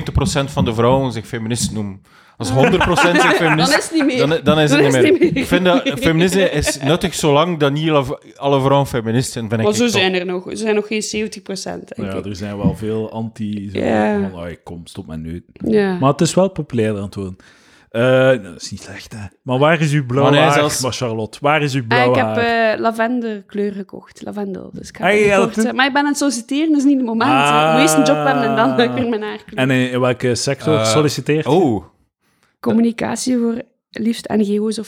S2: van de vrouwen zich feminist noemen. Als 100%
S1: [LAUGHS]
S2: zich
S3: Dan is
S2: feminist...
S3: het niet meer.
S2: Dan, dan is het
S3: Dan
S2: niet meer. Ik vind
S3: [LAUGHS]
S2: dat feminisme is nuttig zolang dat niet alle, alle vrouwen feminist zijn, vind
S3: Maar
S2: ik
S3: zo
S2: toch.
S3: zijn er nog. Er zijn nog geen 70 procent, denk
S1: Ja,
S3: ik.
S1: er zijn wel veel anti... Zo,
S3: Ja.
S1: van, "Ai, kom, stop met nu.
S3: Ja.
S1: Maar het is wel populair aan het worden. Eh, dat is niet slecht, hè. Maar waar is uw blauw
S2: Maar nee,
S1: haar,
S2: zelfs-
S1: maar Charlotte? Waar is uw
S3: Ah,
S1: blauw
S3: ik
S1: haar?
S3: heb eh lavenderkleur gekocht. Lavendel. Dus ik heb
S1: Ah,
S3: het
S1: je had
S3: gekocht,
S1: het-
S3: eh, Maar ik ben aan het solliciteren, dat is niet het moment.
S1: Ah.
S3: Ik moet eerst een job hebben en dan lekker mijn haar kleur.
S1: En in, in welke sector
S2: Eh,
S1: solliciteert?
S2: Oh,
S3: Communicatie voor liefst NGO's of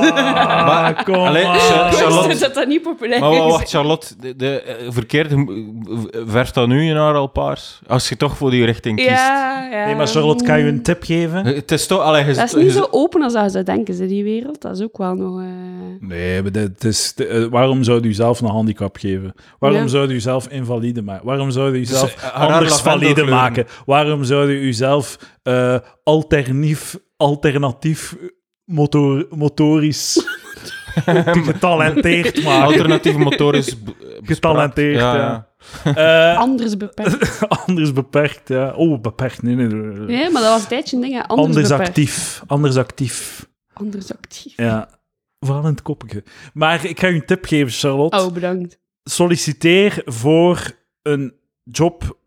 S2: [LAUGHS]
S3: [LAUGHS]
S1: Ah,
S2: Maar-
S1: kom
S2: Allee,
S1: maar.
S2: Char- Charlotte-
S3: dat dat niet populair [LAUGHS]
S2: maar wa-
S3: is.
S2: wacht, Charlotte, de, de, eh, verkeerd, eh, verf dan nu je haar al paars? Als je toch voor die richting kiest.
S3: ja, ja. Mm.
S1: Nee, maar Charlotte, kan je een tip geven?
S2: Het is toch... Allee, je-
S3: Dat is niet
S2: je-
S3: zo open als dat ze denken, ze, die wereld. Dat is ook wel nog... eh,
S1: Nee, maar dit is, de- eh, waarom zou u zelf een handicap geven? Waarom
S3: Ja.
S1: zou u zelf invalide maken? Waarom zou u zelf
S2: eh, haar
S1: Dus, anders
S2: lavendelkleuren.
S1: valide maken? Waarom zou u zelf eh, alternatief, alternatief motor,
S2: [LAUGHS]
S1: motorisch [LAUGHS] getalenteerd maken?
S2: Alternatieve motorisch... b-
S1: [LAUGHS] Getalenteerd,
S2: bespraakt.
S1: ja. Eh, [LAUGHS]
S3: Anders beperkt.
S1: anders beperkt, ja. Oh, beperkt, nee, nee. nee.
S3: Nee, maar dat was een tijdje een ding, hè. Anders,
S1: Anders,
S3: beperkt.
S1: actief, anders actief.
S3: Anders actief.
S1: Ja, vooral in het koppige. Maar ik ga u een tip geven, Charlotte.
S3: Oh, bedankt.
S1: Solliciteer voor een job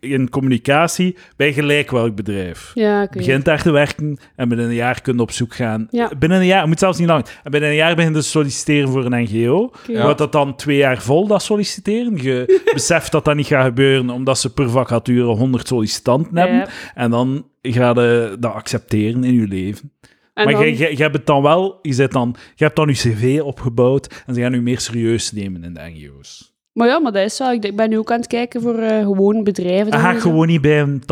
S1: in communicatie bij gelijk welk bedrijf.
S3: Ja, oké.
S1: Begint daar te werken en binnen een jaar kun je op zoek gaan.
S3: Ja.
S1: Binnen een jaar, het moet zelfs niet lang. En binnen een jaar begin je te solliciteren voor een NGO.
S3: Oké.
S1: Je houdt dat dan twee jaar vol, dat solliciteren. Je
S3: [LAUGHS]
S1: beseft dat dat niet gaat gebeuren, omdat ze per vacature 100 sollicitanten hebben.
S3: Ja.
S1: En dan ga je dat accepteren in je leven.
S3: En
S1: maar
S3: dan-
S1: je, je, je hebt het dan wel, je, zit dan, je hebt dan je cv opgebouwd en ze gaan je meer serieus nemen in de NGO's.
S3: Maar ja, maar dat is wel. Ik denk- ben nu ook aan het kijken voor eh, gewoon bedrijven.
S1: Dan ga
S3: dan
S1: ik
S3: en zo.
S1: Ah, gewoon niet bij een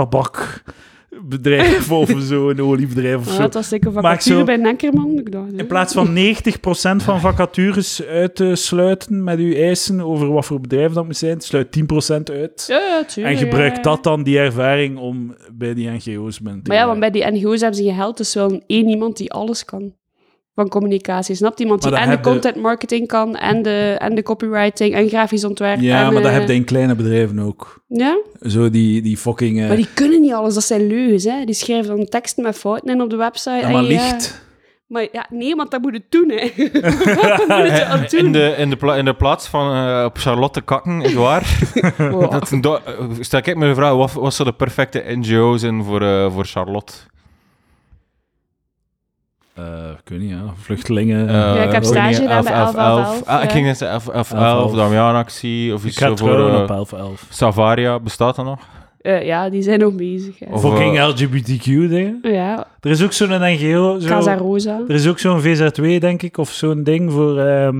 S1: tabakbedrijf [LAUGHS] of zo, een oliebedrijf of
S3: Ja,
S1: zo.
S3: Ah, dat was zeker
S1: Maar ik
S3: vacature
S1: zo-
S3: bij Nekkerman. Ik dacht, hè.
S1: In plaats van 90% van vacatures uit te sluiten met uw eisen over wat voor bedrijf dat moet zijn, sluit 10% uit.
S3: Ja, ja, tuurlijk.
S1: En
S3: ja.
S1: gebruik dat dan, die ervaring, om bij die NGO's binnen te
S3: Maar ja,
S1: geraken.
S3: want bij die NGO's hebben ze geheld. Dus wel één iemand die alles kan. Van communicatie. Snapt iemand die
S1: Maar dat
S3: en de
S1: heb je-
S3: content marketing kan. En de, en de copywriting. En grafisch ontwerp.
S1: Ja,
S3: en,
S1: maar dat
S3: eh,
S1: heb je in kleine bedrijven ook.
S3: Ja,
S1: Zo die, die fucking... eh,
S3: maar die kunnen niet alles. Dat zijn leugens. Hè. Die schrijven dan teksten met fouten in op de website.
S1: ja,
S3: en
S1: maar
S3: ja.
S1: licht.
S3: Maar ja, nee, want dat moet het doen. Hè. [LAUGHS] dat moet het al doen.
S2: In de, in, de pla- in de plaats van eh, op Charlotte kakken, is
S1: [LAUGHS]
S2: waar.
S3: Wow.
S2: Dat is een do- eh, stel ik me de vraag, wat, wat zou de perfecte NGO zijn voor, eh, voor Charlotte?
S1: Eh, ik weet niet, ja. Vluchtelingen.
S3: Ja, ik heb
S2: Eh,
S3: stage
S2: dingen,
S3: gedaan bij
S2: 11,
S3: 11,
S2: 11. Ah, Ik
S3: ja.
S2: ging net zeggen 11, 11,
S1: elf.
S2: of Damian-actie, of
S1: ik
S2: iets
S1: ga
S2: zo voor
S1: trouwen
S2: eh,
S1: op 11 11.
S2: Savaria, bestaat dat nog?
S3: eh, ja, die zijn nog bezig. hè.
S2: Of,
S1: Fucking
S2: eh,
S1: LGBTQ-dingen.
S3: Ja,
S1: Er is ook zo'n NGO. Zo,
S3: Casa Rosa.
S1: er is ook zo'n VZW, denk ik, of zo'n ding voor, ehm,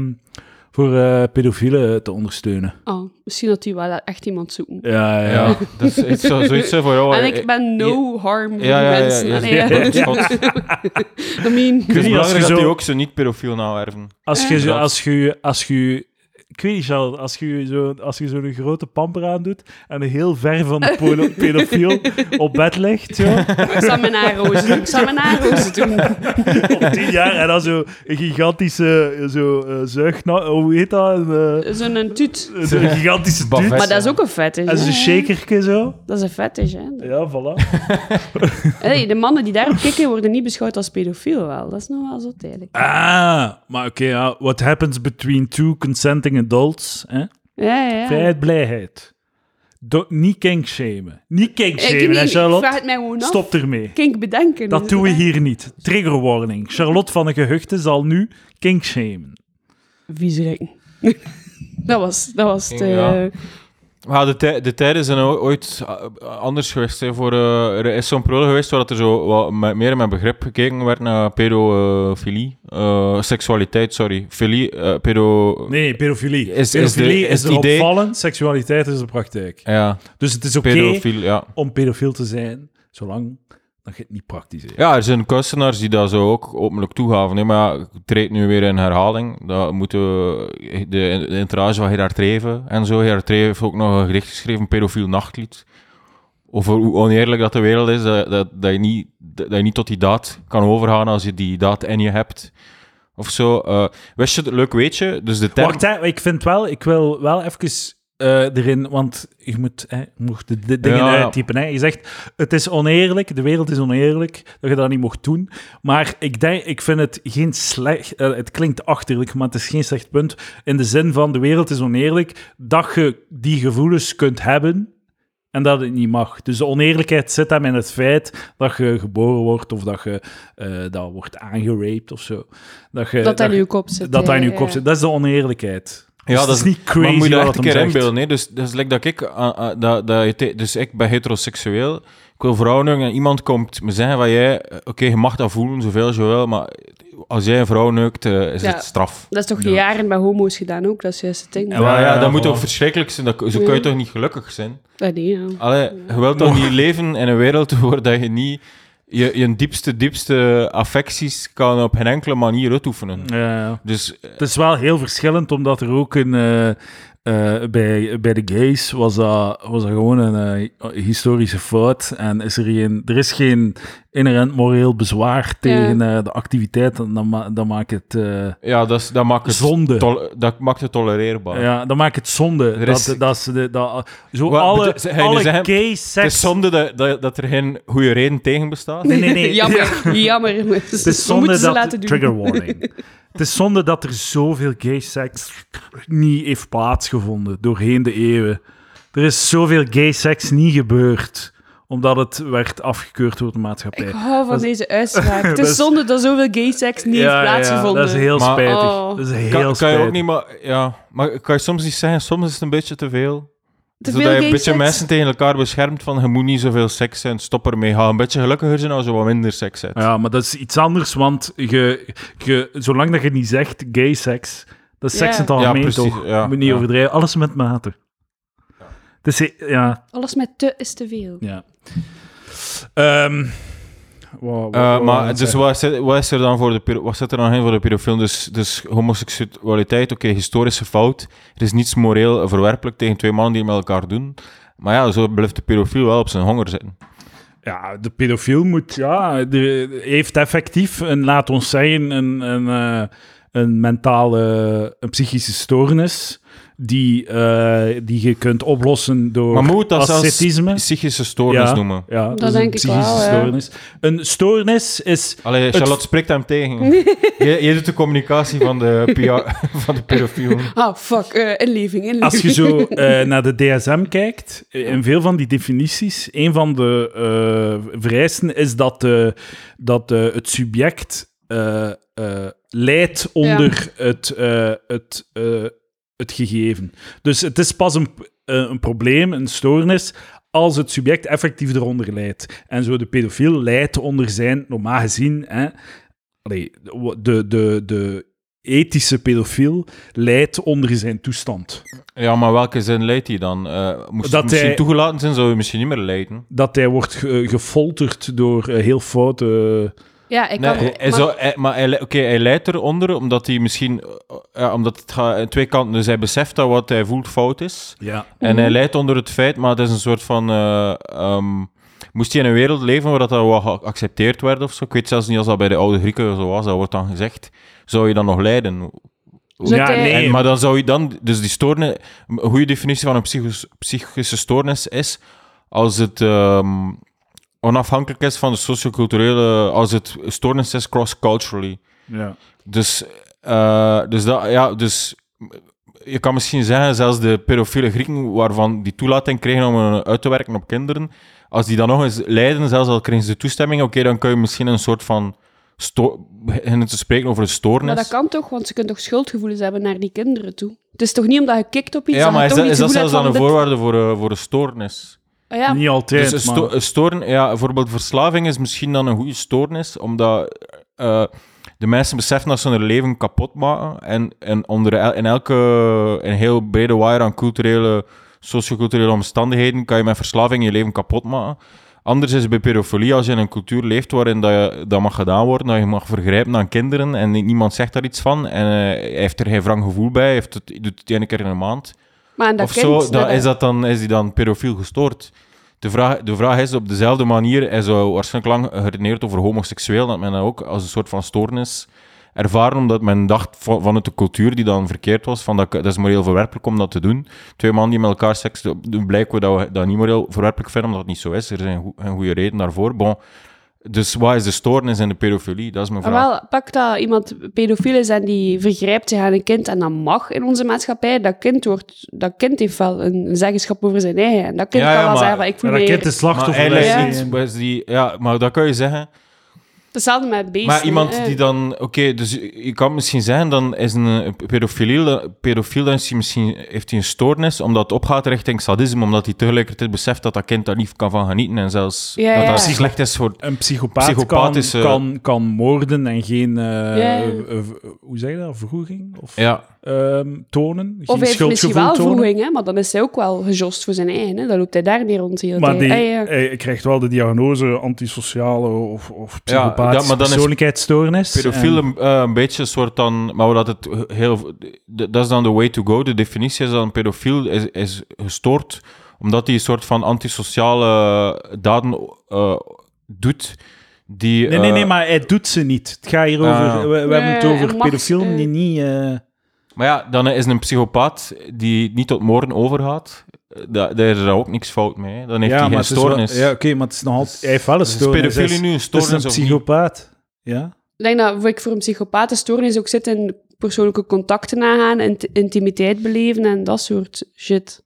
S1: voor eh, pedofielen te ondersteunen. Eh,
S3: Oh, misschien dat die wel echt iemand zoeken.
S1: Ja, ja.
S2: Ja, dat is iets,
S1: [LAUGHS]
S2: zo- zoiets eh, voor jou.
S3: en
S2: eh,
S3: ik ben no harm voor
S2: ja, ja,
S3: die
S2: ja,
S3: mensen.
S2: ja, [LAUGHS]
S3: Allee,
S2: ja,
S3: [LAUGHS]
S1: ja.
S2: ja, ja.
S3: I mean,
S1: Niet als
S2: Het is
S1: je
S2: belangrijk dat die
S1: zo-
S2: ook zo niet pedofiel nou erven.
S1: Als je,
S2: Ja.
S1: zo, als je, als je, ik weet niet, Charles, als je zo, als je zo'n grote pamper aandoet en een heel ver van de [LAUGHS] polo- pedofiel op bed ligt, zo, [LAUGHS]
S3: ik zal mijn naarrozen doen. Ik zal mijn
S2: [LAUGHS]
S3: naarrozen doen.
S1: op tien jaar, en dan zo een gigantische eh, zo, eh, zuigna, hoe heet dat? Een, eh,
S3: Zo'n tuut.
S1: zo'n gigantische
S2: Buffet.
S1: dude.
S3: Maar dat is ook een fetish.
S1: En zo'n
S3: hè?
S1: shakerke zo.
S3: Dat is een fetish, hè.
S1: Ja, voilà.
S3: Hey, de mannen die daarop kikken worden niet beschouwd als pedofiel wel. Dat is nog wel zo tijdelijk.
S1: Ah, maar oké, ja. What happens between two consenting adults? Hè?
S3: Ja, ja.
S1: Vrijheid, blijheid. Do- niet kink shamen. Niet kink
S3: Ik,
S1: shamen,
S3: niet,
S1: hè,
S3: ik
S1: Charlotte?
S3: Eh, vraag het mij gewoon af.
S1: Stop ermee.
S3: Kink bedenken.
S1: Dat doen we hier niet. Trigger warning. Charlotte van de Gehuchten zal nu kink shamen.
S3: Viezerikken. [LAUGHS] dat was, dat was eh, de...
S2: Ja. Maar de, tij- de tijden zijn o- ooit eh, anders geweest. Hè, voor, eh, er is zo'n periode geweest waar dat er zo wat me- meer met begrip gekeken werd naar pedofilie. Eh, seksualiteit, sorry. Filie, eh, pedo...
S1: Nee, pedofilie.
S2: Is- is
S1: pedofilie
S2: de-
S1: is,
S2: is het
S1: erop
S2: idee-
S1: vallen, seksualiteit is de praktijk.
S2: Ja,
S1: Dus het is oké
S2: pedofiel, ja.
S1: om pedofiel te zijn, zolang dat je het niet praktiseert.
S2: Ja, er zijn kunstenaars die dat zo ook openlijk toegaven. Nee, maar ja, ik treed nu weer in herhaling. Dat moeten we- de, de entourage van Gerard Treven en zo. Gerard Treven heeft ook nog een gedicht geschreven, een pedofiel nachtlied. Over hoe oneerlijk dat de wereld is, dat, dat, dat, je niet, dat je niet tot die daad kan overgaan als je die daad in je hebt. Of zo. Eh, wist je, het- leuk weet je, dus de term...
S1: Wacht, hè, ik vind wel, ik wil wel even eh, erin, want je moet, hè, je mocht de, de dingen
S2: Ja, ja.
S1: uittypen. Hè. Je zegt, het is oneerlijk, de wereld is oneerlijk, dat je dat niet mocht doen. Maar ik, denk, ik vind het geen slecht, eh, het klinkt achterlijk, maar het is geen slecht punt. In de zin van, de wereld is oneerlijk, dat je die gevoelens kunt hebben en dat het niet mag. Dus de oneerlijkheid zit hem in het feit dat je geboren wordt of dat je eh, dat wordt aangeraped of zo. Dat, je,
S3: dat dat
S1: dat
S3: in
S1: je-
S3: uw kop zit.
S1: dat
S3: ja,
S1: daar in je
S3: ja.
S1: kop zit. Dat is de oneerlijkheid.
S2: Ja,
S1: Dus het
S2: dat
S1: is
S2: is-
S1: niet crazy
S2: maar moet je dat
S1: wat
S2: echt een
S1: hem
S2: keer
S1: zegt.
S2: inbeelden. Nee? Dus, dus like dat ik, ah, ah, dat, dat, je te- dus ik ben heteroseksueel. Ik wil vrouwen neuken en iemand komt me zeggen van jij, eh, oké, je mag dat voelen zoveel als je wil, maar als jij een vrouw neukt, eh, is
S3: Ja.
S2: het straf.
S3: Dat is toch
S1: Ja.
S3: jaren bij homo's gedaan ook? Dat is juist het ding.
S1: Ja,
S2: Ja, maar
S1: ja,
S2: ja, dat moet
S1: voilà.
S2: toch verschrikkelijk zijn? Dat, zo kun
S3: Ja.
S2: je toch niet gelukkig zijn?
S3: Ah, nee, ja.
S2: Allee, je wilt toch niet leven in een wereld [LAUGHS] waar dat je niet je, je diepste, diepste affecties kan op geen enkele manier uitoefenen.
S1: Ja.
S2: Dus eh,
S1: Het is wel heel verschillend, omdat er ook een... eh, eh, bij, bij de gays was dat, was dat gewoon een eh, historische fout. En is er, geen, er is geen inherent moreel bezwaar tegen eh, de activiteit. En dat, ma- dat maakt het eh,
S2: ja, dat, is- dat, maakt het
S1: zonde.
S2: tol- dat maakt het tolereerbaar.
S1: Ja, dat maakt het zonde.
S2: Oh. Er is-
S1: Dat, dat, ze de- dat, zo
S2: Wat
S1: alle,
S2: bete- ga je nu
S1: alle
S2: zeggen,
S1: gay
S2: Het
S1: seks...
S2: is zonde dat, dat, dat er geen goede reden tegen bestaat.
S1: Nee, nee, nee.
S3: [LAUGHS] Jammer, jammer. Het
S1: Het is zonde
S3: moeten ze
S1: dat...
S3: laten doen.
S1: Trigger warning. Het is zonde dat er zoveel gay seks niet heeft plaatsgevonden doorheen de eeuwen. Er is zoveel gay seks niet gebeurd, omdat het werd afgekeurd door de maatschappij.
S3: Ik hou van
S1: Dat is-
S3: deze
S1: [LAUGHS]
S3: uitspraak. Het
S1: Dat
S3: is
S1: is-
S3: zonde dat zoveel gay seks niet
S1: Ja,
S3: heeft
S1: ja,
S3: plaatsgevonden.
S1: dat is heel
S2: Maar-
S1: spijtig.
S3: Oh.
S1: Dat is heel
S2: Kan, kan
S1: spijtig.
S2: je ook niet, maar, ja, maar kan je soms niet zeggen, soms is het een beetje te veel.
S3: Te
S2: Zodat
S3: veel
S2: je een
S3: gay
S2: beetje
S3: seks?
S2: mensen tegen elkaar beschermt van je moet niet zoveel seks zijn, stop ermee. Ga een beetje gelukkiger zijn als je wat minder seks hebt.
S1: Ja, maar dat is iets anders, want je, je, zolang dat je niet zegt gay seks, dat is seks
S3: Ja.
S1: in het algemeen
S2: Ja, precies,
S1: toch?
S2: ja,
S1: Je Moet niet
S2: ja.
S1: overdrijven, alles met mate. Het is, ja,
S3: Alles met te is te veel.
S1: Ja. Ehm, wat- wat- wat
S2: Eh,
S1: wou
S2: maar
S1: ik
S2: dus
S1: zeggen?
S2: wat zit, wat is er dan voor de pedo- wat zit er dan in voor de pedofiel? Dus, dus homoseksualiteit, oké, historische fout. Er is niets moreel verwerpelijk tegen twee mannen die het met elkaar doen. Maar ja, zo blijft de pedofiel wel op zijn honger zitten.
S1: Ja, de pedofiel moet, ja, de, heeft effectief een, laat ons zeggen, een, een, eh, een mentale, een psychische stoornis die, eh, die je kunt oplossen door
S2: Maar moet dat zelfs
S1: ascetisme.
S2: psychische stoornis
S1: Ja.
S2: noemen?
S1: Ja,
S3: Dat
S1: is
S3: denk
S1: een
S3: ik
S1: psychische
S3: wel, ja.
S1: stoornis. Een stoornis is...
S2: Allee, Charlotte spreekt hem tegen. je, je doet de communicatie van de, PR, [LAUGHS] van de pedofiel.
S3: Ah, fuck. eh inleving, [LAUGHS] inleving.
S1: Als je zo eh, naar de DSM kijkt, eh, in veel van die definities, een van de eh vereisten is dat, eh, dat eh, het subject eh, eh, lijdt onder het, eh, het, eh, het gegeven. Dus het is pas een, eh, een probleem, een stoornis, als het subject effectief eronder lijdt. En zo de pedofiel lijdt onder zijn, normaal gezien, hè, allee, de, de, de ethische pedofiel lijdt onder zijn toestand.
S2: Ja, maar welke zin leidt hij dan? Eh moest
S1: Dat
S2: het misschien
S1: hij-
S2: toegelaten zijn, zou je misschien niet meer leiden.
S1: Dat hij wordt ge- eh, gefolterd door eh, heel foute... eh,
S3: Ja, ik
S2: Nee,
S3: kan...
S2: hij, hij
S3: maar-
S2: zou- hij- maar hij, li- oké, hij leidt eronder omdat hij misschien... eh, ja, omdat het gaat aan twee kanten... Dus hij beseft dat wat hij voelt fout is.
S1: ja.
S2: En hij leidt onder het feit, maar het is een soort van... eh, ehm, moest hij in een wereld leven waar dat dan wel geaccepteerd werd of zo? Ik weet zelfs niet als dat bij de oude Grieken zo was, dat wordt dan gezegd. Zou je dan nog lijden?
S3: Zou
S1: Ja,
S3: Dus hij-
S1: nee.
S2: En, maar dan zou je dan... Dus die stoornis... Een goede definitie van een psychos- psychische stoornis is als het... ehm, onafhankelijk is van de socioculturele... Als het stoornis is cross-culturally.
S1: ja.
S2: Dus, eh, dus, dat, ja, dus je kan misschien zeggen, zelfs de pedofiele Grieken waarvan die toelating kregen om eh, uit te werken op kinderen, als die dan nog eens lijden, zelfs al kregen ze de toestemming, oké, dan kun je misschien een soort van sto- beginnen te spreken over een stoornis.
S3: Maar dat kan toch, want ze kunnen toch schuldgevoelens hebben naar die kinderen toe. Het is toch niet omdat je kikt op iets
S2: ja, maar is
S3: dat, je
S2: dat,
S3: toch
S2: is dat
S3: niet het
S2: zelfs
S3: gevoel
S2: dan een
S3: hebt van
S2: voorwaarde voor, eh, voor een stoornis?
S3: dit- Ah, ja,
S1: Niet altijd,
S2: Dus een
S1: maar-
S2: sto- een stoorn, ja, bijvoorbeeld verslaving is misschien dan een goede stoornis, omdat eh, de mensen beseffen dat ze hun leven kapot maken. En, en onder el- in elke een heel brede waaier aan culturele, socioculturele omstandigheden kan je met verslaving je leven kapot maken. Anders is het bij pedofilie, als je in een cultuur leeft waarin dat, je, dat mag gedaan worden, dat je mag vergrijpen aan kinderen en ni- niemand zegt daar iets van en eh, hij heeft er geen wrang gevoel bij, hij heeft het, hij doet het één keer in een maand
S3: maar aan dat
S2: of
S3: kind...
S2: zo, dan
S3: dat-
S2: is, dat dan, is die dan pedofiel gestoord? De vraag, de vraag is op dezelfde manier, hij zou waarschijnlijk lang geredeneerd over homoseksueel, dat men dat ook als een soort van stoornis ervaren, omdat men dacht van- vanuit de cultuur die dan verkeerd was, van dat, dat is moreel verwerpelijk om dat te doen. Twee mannen die met elkaar seks doen, doen, blijken we dat we dat niet moreel verwerpelijk vinden, omdat het niet zo is. Er zijn een goede reden daarvoor. Bon. Dus wat is de stoornis in de pedofilie? Dat is mijn
S3: Ah,
S2: vraag.
S3: wel, pak dat iemand pedofiel is en die vergrijpt zich aan een kind en dat mag in onze maatschappij. Dat kind, wordt, dat kind heeft wel een zeggenschap over zijn eigen. En dat kind
S2: Ja,
S3: kan
S2: ja,
S3: wel
S2: maar-
S3: zeggen van, ik voel
S1: Maar
S3: me...
S1: dat kind
S3: hier-
S1: is slachtoffer.
S2: maar,
S1: dat
S2: hij
S1: is eh,
S2: leidt
S1: niet-
S2: dus die, ja, maar dat kan je zeggen.
S3: Hetzelfde met beesten.
S2: Maar iemand
S3: hè.
S2: die dan, oké, dus je je kan misschien zeggen, dan is een eh, pedofiel, pedofiel dan is hij misschien, heeft hij een stoornis, omdat het opgaat richting sadisme, omdat hij tegelijkertijd beseft dat dat kind daar niet kan van genieten en zelfs
S3: Ja,
S2: dat
S3: ja.
S2: dat slecht is voor...
S1: Een psychopaat,
S2: Psychopaat
S1: kan,
S2: is, eh,
S1: kan, kan moorden en geen... eh,
S3: Ja.
S1: eh, eh, hoe zeg je dat? Vergoeding? Of,
S2: Ja,
S1: ehm, tonen?
S3: Of
S1: geen
S3: hij heeft misschien
S1: schuldgevoel
S3: wel
S1: tonen.
S3: vroeging, hè, maar dan is hij ook wel gejost voor zijn eigen. Hè. Dan loopt hij daar weer rond de hele
S1: Maar
S3: tijd.
S1: die,
S3: Ah, ja.
S1: hij krijgt wel de diagnose antisociale of, of
S2: Ja, dat-
S1: psychopathische
S2: maar dan is
S1: persoonlijkheidsstoornis.
S2: pedofiel
S1: En-
S2: een, eh, een beetje een soort dan... Maar dat het heel... d- Dat is dan de way to go. De definitie is dan pedofiel is, is gestoord, omdat hij een soort van antisociale daden eh, doet, die...
S1: Nee, nee, nee,
S2: eh,
S1: maar hij doet ze niet. Het gaat hier over...
S2: Ah.
S1: we we
S3: Ja,
S1: hebben het
S3: ja,
S1: over
S3: en macht,
S1: pedofiel,
S3: eh.
S1: die niet... eh,
S2: Maar ja, dan is een psychopaat die niet tot moorden overgaat, eh, da- daar is er ook niks fout mee. hè. Dan heeft
S1: ja,
S2: hij
S1: maar
S2: geen
S1: het is wel-
S2: stoornis.
S1: Ja, oké, maar het is nog altijd... Hij heeft wel een
S2: Is
S1: stoornis.
S2: pedofilie
S1: hij is-
S2: nu een
S1: Het is
S2: stoornis
S1: een
S2: of niet?
S1: psychopaat. Ja?
S3: Ik denk dat wat ik voor een psychopaat een stoornis ook zit in persoonlijke contacten aangaan, int- intimiteit beleven en dat soort shit.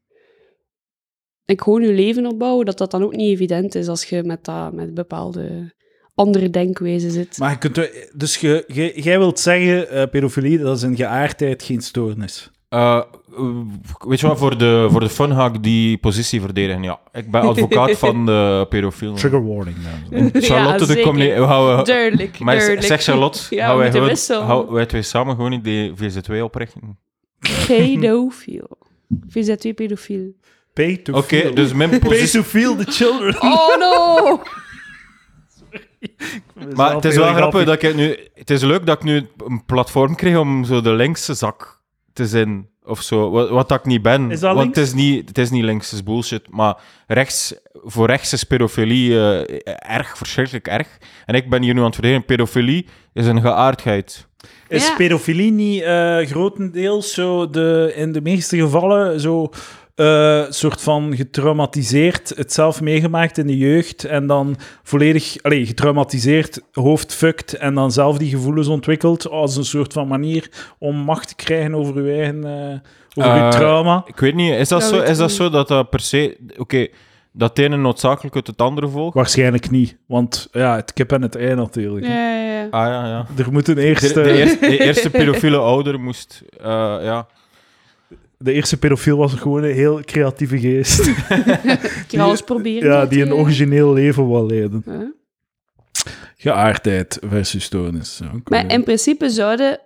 S3: Ik gewoon je leven opbouwen, dat dat dan ook niet evident is als je met, dat, met bepaalde andere denkwijzen zit.
S1: Maar je kunt... er- Dus je- je- jij wilt zeggen, eh, pedofilie, dat is een geaardheid, geen stoornis.
S2: Eh, w- weet je wat, voor de, voor de fun ga ik die positie verdedigen. Ja, ik ben
S1: [LAUGHS]
S2: advocaat van de pedofiel.
S1: Trigger warning. dames en heren.
S2: Charlotte,
S3: [LAUGHS] Ja,
S2: de
S3: zeker.
S2: comedy. we gaan-
S3: Duidelijk,
S2: Maar
S3: duidelijk.
S2: zeg Charlotte,
S3: [LAUGHS]
S2: gaan
S3: Ja, we
S2: wij,
S3: moeten
S2: gewoon,
S3: wisselen.
S2: gaan wij twee samen gewoon niet die VZ2 oprichten?
S3: Pedofiel. VZ2 pedofiel.
S1: Pay to
S2: Oké,
S1: feel.
S2: dus mijn
S1: Pay
S2: positie...
S1: to feel the children.
S3: Oh no!
S2: Maar het is wel grappig dat ik nu... Het is leuk dat ik nu een platform kreeg om zo de linkse zak te zijn. Of zo, wat, wat dat ik niet ben.
S1: Is dat
S2: Want
S1: links?
S2: het is niet, het is niet links, het is bullshit. Maar rechts, voor rechts is pedofilie eh, erg, verschrikkelijk erg. En ik ben hier nu aan het verdedigen. Pedofilie is een geaardheid.
S1: Is
S3: Ja.
S1: pedofilie niet eh, grotendeels zo de, in de meeste gevallen zo eh, soort van getraumatiseerd, het zelf meegemaakt in de jeugd en dan volledig allee, getraumatiseerd, hoofd fucked en dan zelf die gevoelens ontwikkeld als een soort van manier om macht te krijgen over uw eigen eh, over uw
S2: Eh,
S1: trauma?
S2: Ik weet niet, is dat,
S3: Dat
S2: zo,
S3: weet
S2: is
S3: ik
S2: dat
S3: niet.
S2: zo dat dat per se... Oké, dat de ene noodzakelijk uit het andere volgt?
S1: Waarschijnlijk niet, want ja, het kip en het ei natuurlijk.
S3: [LAUGHS] Ja, ja, ja.
S2: Ah ja, ja.
S1: Er moet een
S2: De,
S1: eerste...
S2: de eerste, de eerste pedofiele ouder moest... eh, ja.
S1: De eerste pedofiel was gewoon een heel creatieve geest.
S3: Ik kan alles proberen.
S1: [LAUGHS] ja,
S3: hè,
S1: die een
S3: te-
S1: origineel leven wil leiden.
S3: Ja.
S1: Geaardheid versus stoornis. Ja, oké.
S3: Maar in principe zouden,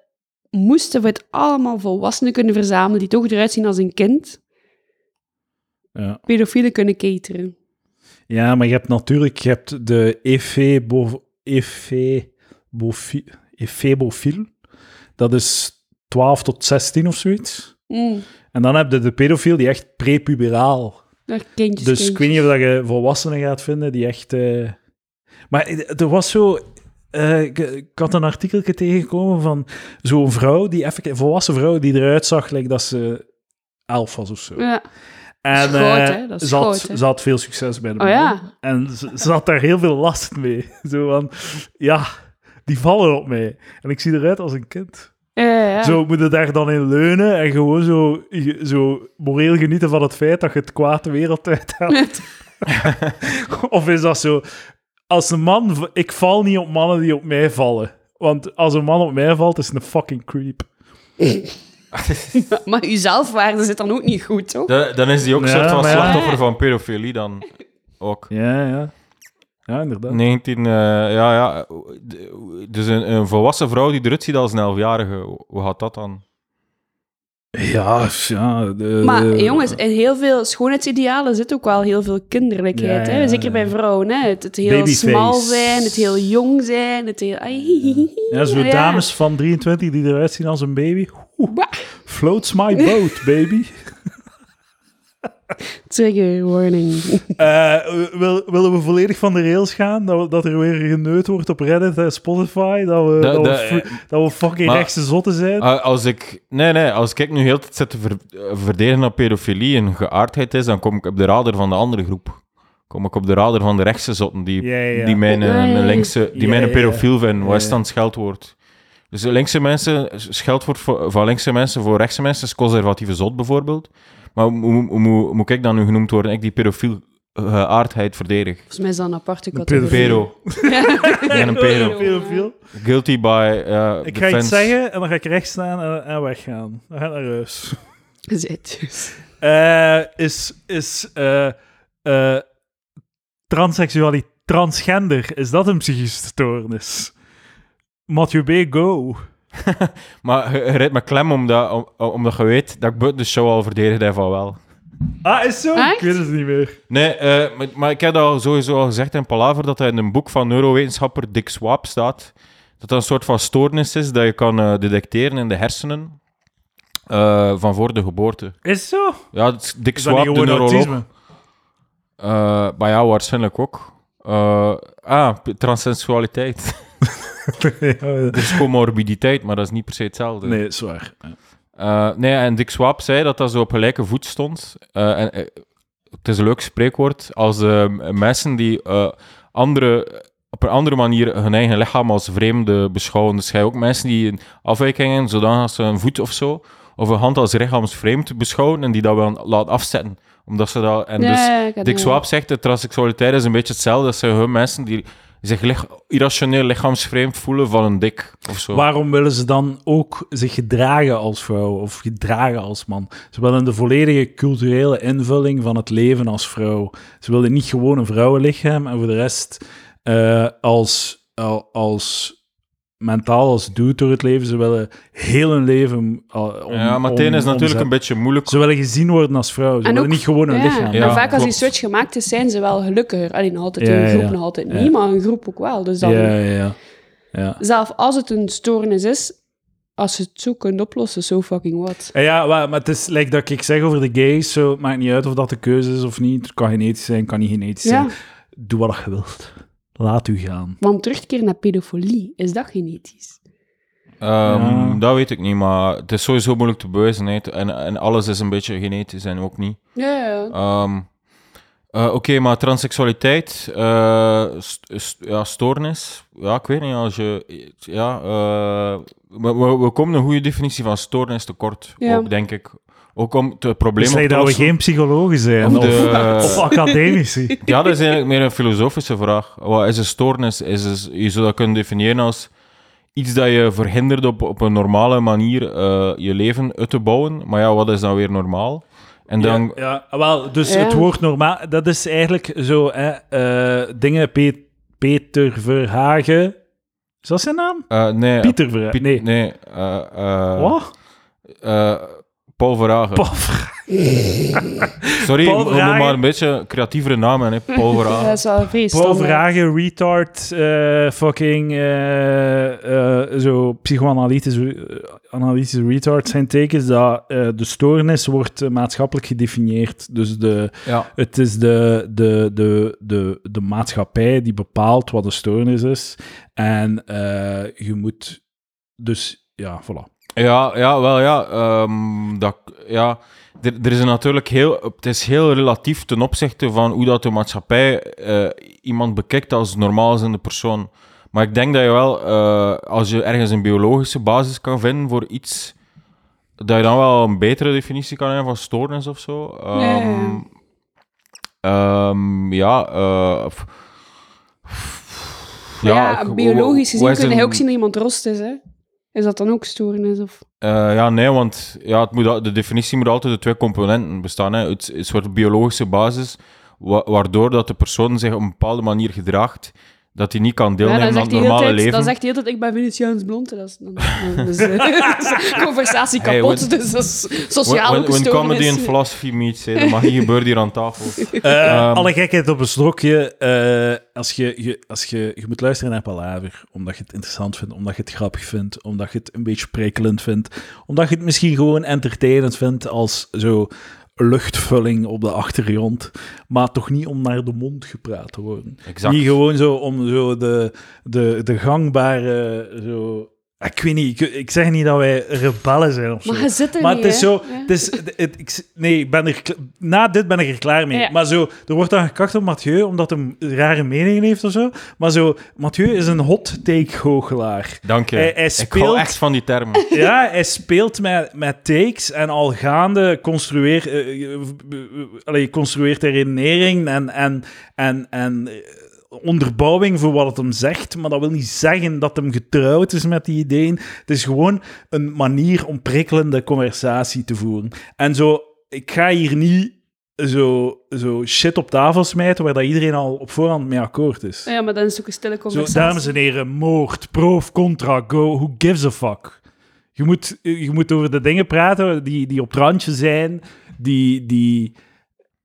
S3: moesten we het allemaal volwassenen kunnen verzamelen die toch eruit zien als een kind.
S1: ja.
S3: Pedofielen kunnen cateren.
S1: ja, maar je hebt natuurlijk je hebt de efebo- efebofi- efebofiel. Dat is 12 tot 16 of zoiets.
S3: Mm,
S1: En dan heb je de pedofiel die echt prepuberaal
S3: daar kindjes,
S1: Dus ik weet niet of dat je volwassenen gaat vinden die echt. eh, Maar er was zo. eh, ik, ik had een artikeltje tegengekomen van zo'n vrouw, die effectief, een volwassen vrouw, die eruit zag like dat ze elf was of zo.
S3: Ja.
S1: en
S3: is groot,
S1: eh,
S3: hè? Dat is
S1: ze, had,
S3: groot, hè?
S1: ze had veel succes bij de
S3: Oh
S1: man.
S3: ja.
S1: En ze, ze had daar heel veel last mee. [LAUGHS] Zo van, ja, die vallen op mij. En ik zie eruit als een kind.
S3: Ja, ja, ja.
S1: Zo moet je daar dan in leunen en gewoon zo, je- zo moreel genieten van het feit dat je het kwaad de wereld
S3: [LAUGHS]
S1: uithaalt. of is dat zo, als een man, v- ik val niet op mannen die op mij vallen. Want als een man op mij valt, is het een fucking creep.
S3: Maar- [LAUGHS] Maar uw zelfwaarde zit dan ook niet goed, toch?
S2: Da- dan is die ook een
S1: Ja,
S2: soort van
S1: maar ja.
S2: slachtoffer van pedofilie dan ook.
S1: Ja, ja. Ja, inderdaad.
S2: 19, eh, ja, ja. d- Dus een, een volwassen vrouw die eruit ziet als een elfjarige, hoe gaat dat dan?
S1: Ja, f- ja. de-
S3: Maar
S1: de-
S3: jongens, in heel veel schoonheidsidealen zit ook wel heel veel kinderlijkheid.
S1: Ja,
S3: hè?
S1: ja,
S3: Zeker
S1: ja.
S3: bij vrouwen. Hè? Het, het heel
S1: Babyface.
S3: smal zijn, het heel jong zijn, het heel...
S1: Ja, zo
S3: Ja.
S1: dames van 23 die eruit zien als een baby. Oeh,
S3: Bah.
S1: floats my boat, baby.
S3: Trigger warning. [LAUGHS]
S1: Eh, wil, willen we volledig van de rails gaan? Dat, we- dat er weer geneut wordt op Reddit en Spotify? Dat we,
S2: Da-
S1: dat,
S2: da-
S1: we, fr- dat we fucking
S2: maar-
S1: rechtse zotten zijn?
S2: Ah, als ik, nee, nee, als ik nu heel de tijd zit te ver- eh, verdedigen dat pedofilie een geaardheid is, dan kom ik op de radar van de andere groep. Kom ik op de radar van de rechtse zotten die,
S1: Ja, ja.
S2: die mijn, eh,
S3: Nee.
S2: linkse, die
S1: Ja,
S2: mijn
S1: ja.
S2: pedofiel vinden.
S1: Ja,
S2: Wat is
S1: ja.
S2: dan scheldwoord? Dus de linkse mensen, scheldwoord voor, van linkse mensen voor rechtse mensen is conservatieve zot bijvoorbeeld. Maar hoe, hoe, hoe moet ik dan nu genoemd worden? Ik die pedofiel eh, geaardheid verdedig.
S3: Volgens mij is dat een aparte
S1: pedofiel.
S3: categorie. [LAUGHS]
S2: Pedo. Ik ben een
S1: [LAUGHS]
S2: pedo.
S1: Veel, veel.
S2: Guilty by eh
S1: Ik ga
S2: defense.
S1: iets zeggen en dan ga ik recht staan en, en weggaan. Dan ga ik naar huis.
S3: Zit dus.
S1: Eh, is is eh, eh, transseksualiteit, transgender, is dat een psychische stoornis? Mathieu B. Go.
S2: Maar je, je rijdt me klem omdat, om- omdat je weet dat ik buiten de show al verdedigd heb van wel.
S1: Ah, is zo?
S3: Echt?
S1: Ik weet het niet meer.
S2: Nee, eh, maar, maar ik heb dat al sowieso al gezegd in Palaver, dat er in een boek van neurowetenschapper Dick Swap staat, dat dat een soort van stoornis is dat je kan eh, detecteren in de hersenen eh, van voor de geboorte.
S1: Is zo?
S2: Ja, het is Dick
S1: Is dat niet
S2: Swap, de
S1: gewoon
S2: neuroloog.
S1: [LAUGHS] autisme?
S2: Eh, maar ja, waarschijnlijk ook. Eh, ah, p- transsensualiteit. [LAUGHS]
S1: Ja,
S2: Er is comorbiditeit, maar dat is niet per se hetzelfde.
S1: nee, zwaar.
S2: Eh, nee, en Dick Swap zei dat dat zo op gelijke voet stond. Eh, en, eh, het is een leuk spreekwoord als eh, mensen die eh, andere, op een andere manier hun eigen lichaam als vreemde beschouwen. Dus jij ook mensen die een afwijking hebben, zodanig als ze een voet of zo, of een hand als lichaamsvreemd beschouwen en die dat wel laten afzetten. Omdat ze dat... En dus
S3: Ja, ik had
S2: Dick
S3: een-
S2: Swap zegt dat transseksualiteit is een beetje hetzelfde. Dat zijn gewoon mensen die zich lich- irrationeel lichaamsvreemd voelen van een dik of zo.
S1: Waarom willen ze dan ook zich gedragen als vrouw of gedragen als man? Ze willen de volledige culturele invulling van het leven als vrouw. Ze willen niet gewoon een vrouwenlichaam en voor de rest eh, als, al- als mentaal, als dude door het leven. Ze willen heel hun leven. al- om-
S2: ja, maar het
S1: om-
S2: een is natuurlijk
S1: omzetten.
S2: een beetje moeilijk.
S1: Ze willen gezien worden als vrouw. Ze
S3: En
S1: willen
S3: ook-
S1: niet gewoon een
S3: ja,
S1: lichaam.
S2: Ja,
S3: maar vaak als die
S2: klopt.
S3: switch gemaakt is, zijn ze wel gelukkiger. Alleen nog altijd
S1: Ja,
S3: een groep,
S1: ja.
S3: nog altijd
S1: Ja.
S3: niet, maar een groep ook wel. Dus dan,
S1: ja, ja, ja. ja.
S3: zelf als het een stoornis is, als je het zo kunt oplossen, so fucking what.
S1: Ja, Eh, Ja, wa- maar het is like dat ik zeg over de gays, zo, het maakt niet uit of dat de keuze is of niet. Het kan genetisch zijn, het kan niet genetisch
S3: Ja,
S1: zijn. Doe wat je wilt. Laat u gaan.
S3: want terugkeer naar pedofilie, is dat genetisch?
S2: Ehm,
S1: Ja.
S2: Dat weet ik niet, maar het is sowieso moeilijk te bewijzen. hè. En, en alles is een beetje genetisch en ook niet.
S3: Ja, ja.
S2: Ehm, eh, Oké, maar transseksualiteit, eh, st- st- ja, stoornis. Ja, ik weet niet. Als je, ja, eh, we, we, we komen een goede definitie van stoornis tekort,
S3: Ja.
S2: ook, denk ik. Ook om het probleem
S1: Dus
S2: op
S1: like
S2: te
S1: dat we
S2: lossen.
S1: geen psychologen zijn
S2: Of
S1: of,
S2: de-
S1: [LAUGHS] of academici.
S2: Ja, dat is eigenlijk meer een filosofische vraag. Wat is een stoornis? Is, is, je zou dat kunnen definiëren als iets dat je verhindert op, op een normale manier eh, je leven uit te bouwen. Maar ja, wat is dan weer normaal? En [LAUGHS] dan...
S1: Ja, ja, wel, dus
S3: Ja.
S1: het woord normaal, dat is eigenlijk zo, hè, eh, dingen, Pe- Peter Verhagen, is dat zijn naam?
S2: eh, nee,
S1: Pieter Verhagen,
S2: Piet-
S1: nee.
S2: nee eh, eh,
S1: Wat?
S2: eh, Paul Verhagen.
S1: Paul Verhagen.
S2: Sorry,
S1: Paul
S2: ik noem
S1: Verhagen.
S2: maar een beetje creatievere namen. Hè.
S1: [LAUGHS]
S2: Paul
S3: [LAUGHS]
S2: Verhagen.
S3: Dat is wel vrees.
S1: Paul Verhagen, retard, eh, fucking, eh, eh, zo psychoanalytisch eh, analytisch retard zijn tekens dat eh, de stoornis wordt eh, maatschappelijk gedefinieerd. Dus de,
S2: Ja.
S1: Het is de, de, de, de, de maatschappij die bepaalt wat een stoornis is. En eh, je moet. Dus ja, voilà.
S2: Ja, ja, wel ja. ehm, dat, ja. Er, er is natuurlijk heel, het is heel relatief ten opzichte van hoe dat de maatschappij eh, iemand bekijkt als normaal zinnende persoon. Maar ik denk dat je wel, eh, als je ergens een biologische basis kan vinden voor iets, dat je dan wel een betere definitie kan hebben van stoornis of zo. Ehm,
S3: Ja, ja, ja.
S2: ehm, ja, eh, f-
S3: Ja,
S2: ik- hoe-
S3: biologisch
S2: hoe
S3: gezien
S2: is
S3: kun
S2: een-
S3: je ook zien dat iemand rost is, hè. Is dat dan ook stoornis? Of...
S2: Eh, ja, nee, want ja, het moet, al- de definitie moet altijd uit twee componenten bestaan. Hè. Het, een soort biologische basis, wa- waardoor dat de persoon zich op een bepaalde manier gedraagt, dat hij niet kan
S3: Ja,
S2: deelnemen
S3: dan
S2: aan
S3: zegt
S2: het
S3: hij de hele
S2: normale
S3: tijd,
S2: leven.
S3: dan zegt hij de hele tijd, ik ben Venetiaans blond. Dat is, dan, dan is [LAUGHS] de conversatie
S2: Hey,
S3: kapot,
S2: when-
S3: [LAUGHS] dus dat is sociaal
S2: when,
S3: ook een
S2: when comedy
S3: stoornis.
S2: and philosophy meets, hè. dat mag niet
S3: [LAUGHS]
S2: gebeuren hier aan tafel. Ehm.
S1: Eh, alle gekheid op een slokje. eh, als je, je, als je, je moet luisteren naar Palaver, omdat je het interessant vindt, omdat je het grappig vindt, omdat je het een beetje prikkelend vindt, omdat je het misschien gewoon entertainend vindt als zo luchtvulling op de achtergrond, maar toch niet om naar de mond gepraat te worden.
S2: Exact.
S1: Niet gewoon zo om zo de, de, de gangbare. Zo, ik weet niet, ik, ik zeg niet dat wij rebellen zijn of zo.
S3: Maar je zit er
S1: Maar
S3: niet,
S1: het is
S3: hè.
S1: zo.
S3: Ja.
S1: Het is, het- het- ik, s- nee, ik ben er, kla- na dit ben ik er klaar mee.
S3: Ja.
S1: Maar zo, er wordt dan gekakt op Mathieu omdat hij rare meningen heeft of zo. Maar zo, Mathieu is een hot take goochelaar.
S2: Dank je.
S1: Hij- hij
S2: Ik hou
S1: speelt-
S2: echt van die termen.
S1: Ja, hij speelt met, met takes en al gaande construeer, eh, eh, allee, construeert hij redenering en, en, en, en eh, onderbouwing voor wat het hem zegt. Maar dat wil niet zeggen dat hem getrouwd is met die ideeën. Het is gewoon een manier om prikkelende conversatie te voeren. En zo, ik ga hier niet zo, zo shit op tafel smijten waar dat iedereen al op voorhand mee akkoord is.
S3: Ja, maar dan is het ook een stille
S1: Zo,
S3: conversatie.
S1: dames en heren, moord, proof, contra, go, who gives a fuck? Je moet, je moet over de dingen praten die, die op het randje zijn, die... die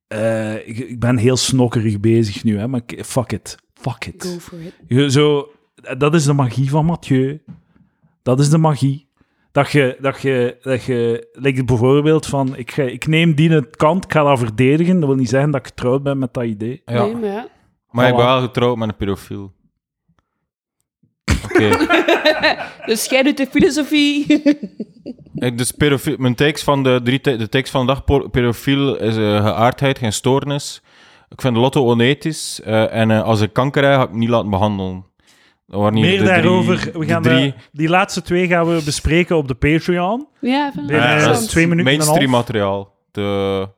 S1: eh, ik, ik ben heel snokkerig bezig nu, hè, maar ik- fuck it. Fuck
S3: Go
S1: it.
S3: for it.
S1: Je- Zo, dat is de magie van Mathieu. Dat is de magie. Dat je, dat je, dat je like bijvoorbeeld van, ik, ga- ik neem die een kant, ik ga dat verdedigen. Dat wil niet zeggen dat ik getrouwd ben met dat idee.
S2: Ja.
S3: Nee, maar ja.
S2: Maar ik ben
S1: Voilà.
S2: wel getrouwd met een pedofiel. Oké.
S3: [LAUGHS] Dus jij doet de filosofie. [LAUGHS]
S2: Ik- Dus pedofiel, mijn tekst van de, drie te- de tekst van de dag, por- pedofiel is eh, geaardheid, geen stoornis. Ik vind lotto onethisch. eh, en eh, als ik kanker heb, ga ik het niet laten behandelen. Dat waren hier
S1: Meer
S2: de drie-
S1: daarover.
S2: de
S1: we gaan eh, de-
S2: drie
S1: die laatste twee gaan we bespreken op de Patreon.
S3: ja, ik vind het
S1: Nee,
S2: nee,
S3: interessant.
S2: dat is
S1: twee minuten en een
S2: eh, mainstream
S1: half.
S2: materiaal. De,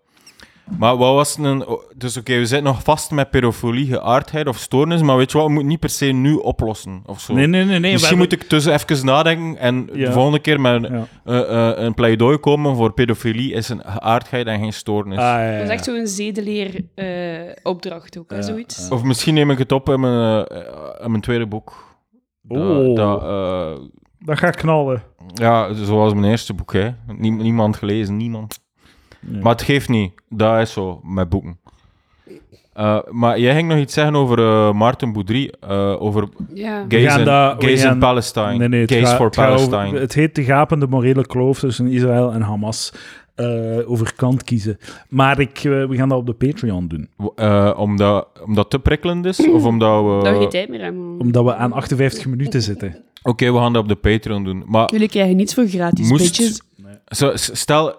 S2: maar wat was een... o- Dus oké, we zitten nog vast met pedofilie, geaardheid of stoornis. Maar weet je wat, we moeten niet per se nu oplossen of zo.
S1: Nee, nee, nee. nee
S2: Misschien
S1: we
S2: moet ik tussen even nadenken en
S1: Ja.
S2: de volgende keer met een,
S1: Ja.
S2: eh, eh, een pleidooi komen voor pedofilie is een geaardheid en geen stoornis.
S1: hebben- Ah, ja, ja,
S3: Dat is
S1: ja.
S3: echt zo'n zedeleer-opdracht ook, hè,
S1: Ja,
S3: zoiets.
S1: ja.
S2: Of misschien neem ik het op in mijn, eh, in mijn tweede boek. Dat-
S1: Oeh.
S2: dat, eh,
S1: Oh, Dat gaat knallen.
S2: ja, zoals mijn eerste boek. Hè. Niem- niemand gelezen, niemand.
S1: Nee.
S2: Maar het geeft niet. Dat is zo met boeken. Eh, maar jij ging nog iets zeggen over eh Maarten Boudry, eh, over
S3: Ja.
S1: We
S2: gays,
S1: gaan
S2: in,
S1: dat- we
S2: gays in
S1: gaan-
S2: Palestine.
S1: Nee, nee, het,
S2: gays
S1: gaat-
S2: for
S1: het gaat over-
S2: Palestine.
S1: het heet de gapende morele kloof tussen Israël en Hamas. eh, over kant kiezen. Maar ik, eh, we gaan dat op de Patreon doen.
S2: Eh, omdat, omdat het te prikkelend is? of omdat we...
S3: Dat we geen tijd meer hebben.
S1: Omdat we aan 58 minuten zitten.
S2: Oké, we gaan dat op de Patreon doen. Maar
S3: Jullie krijgen niets voor gratis,
S2: Moest-
S3: bitches.
S2: zo, s- stel...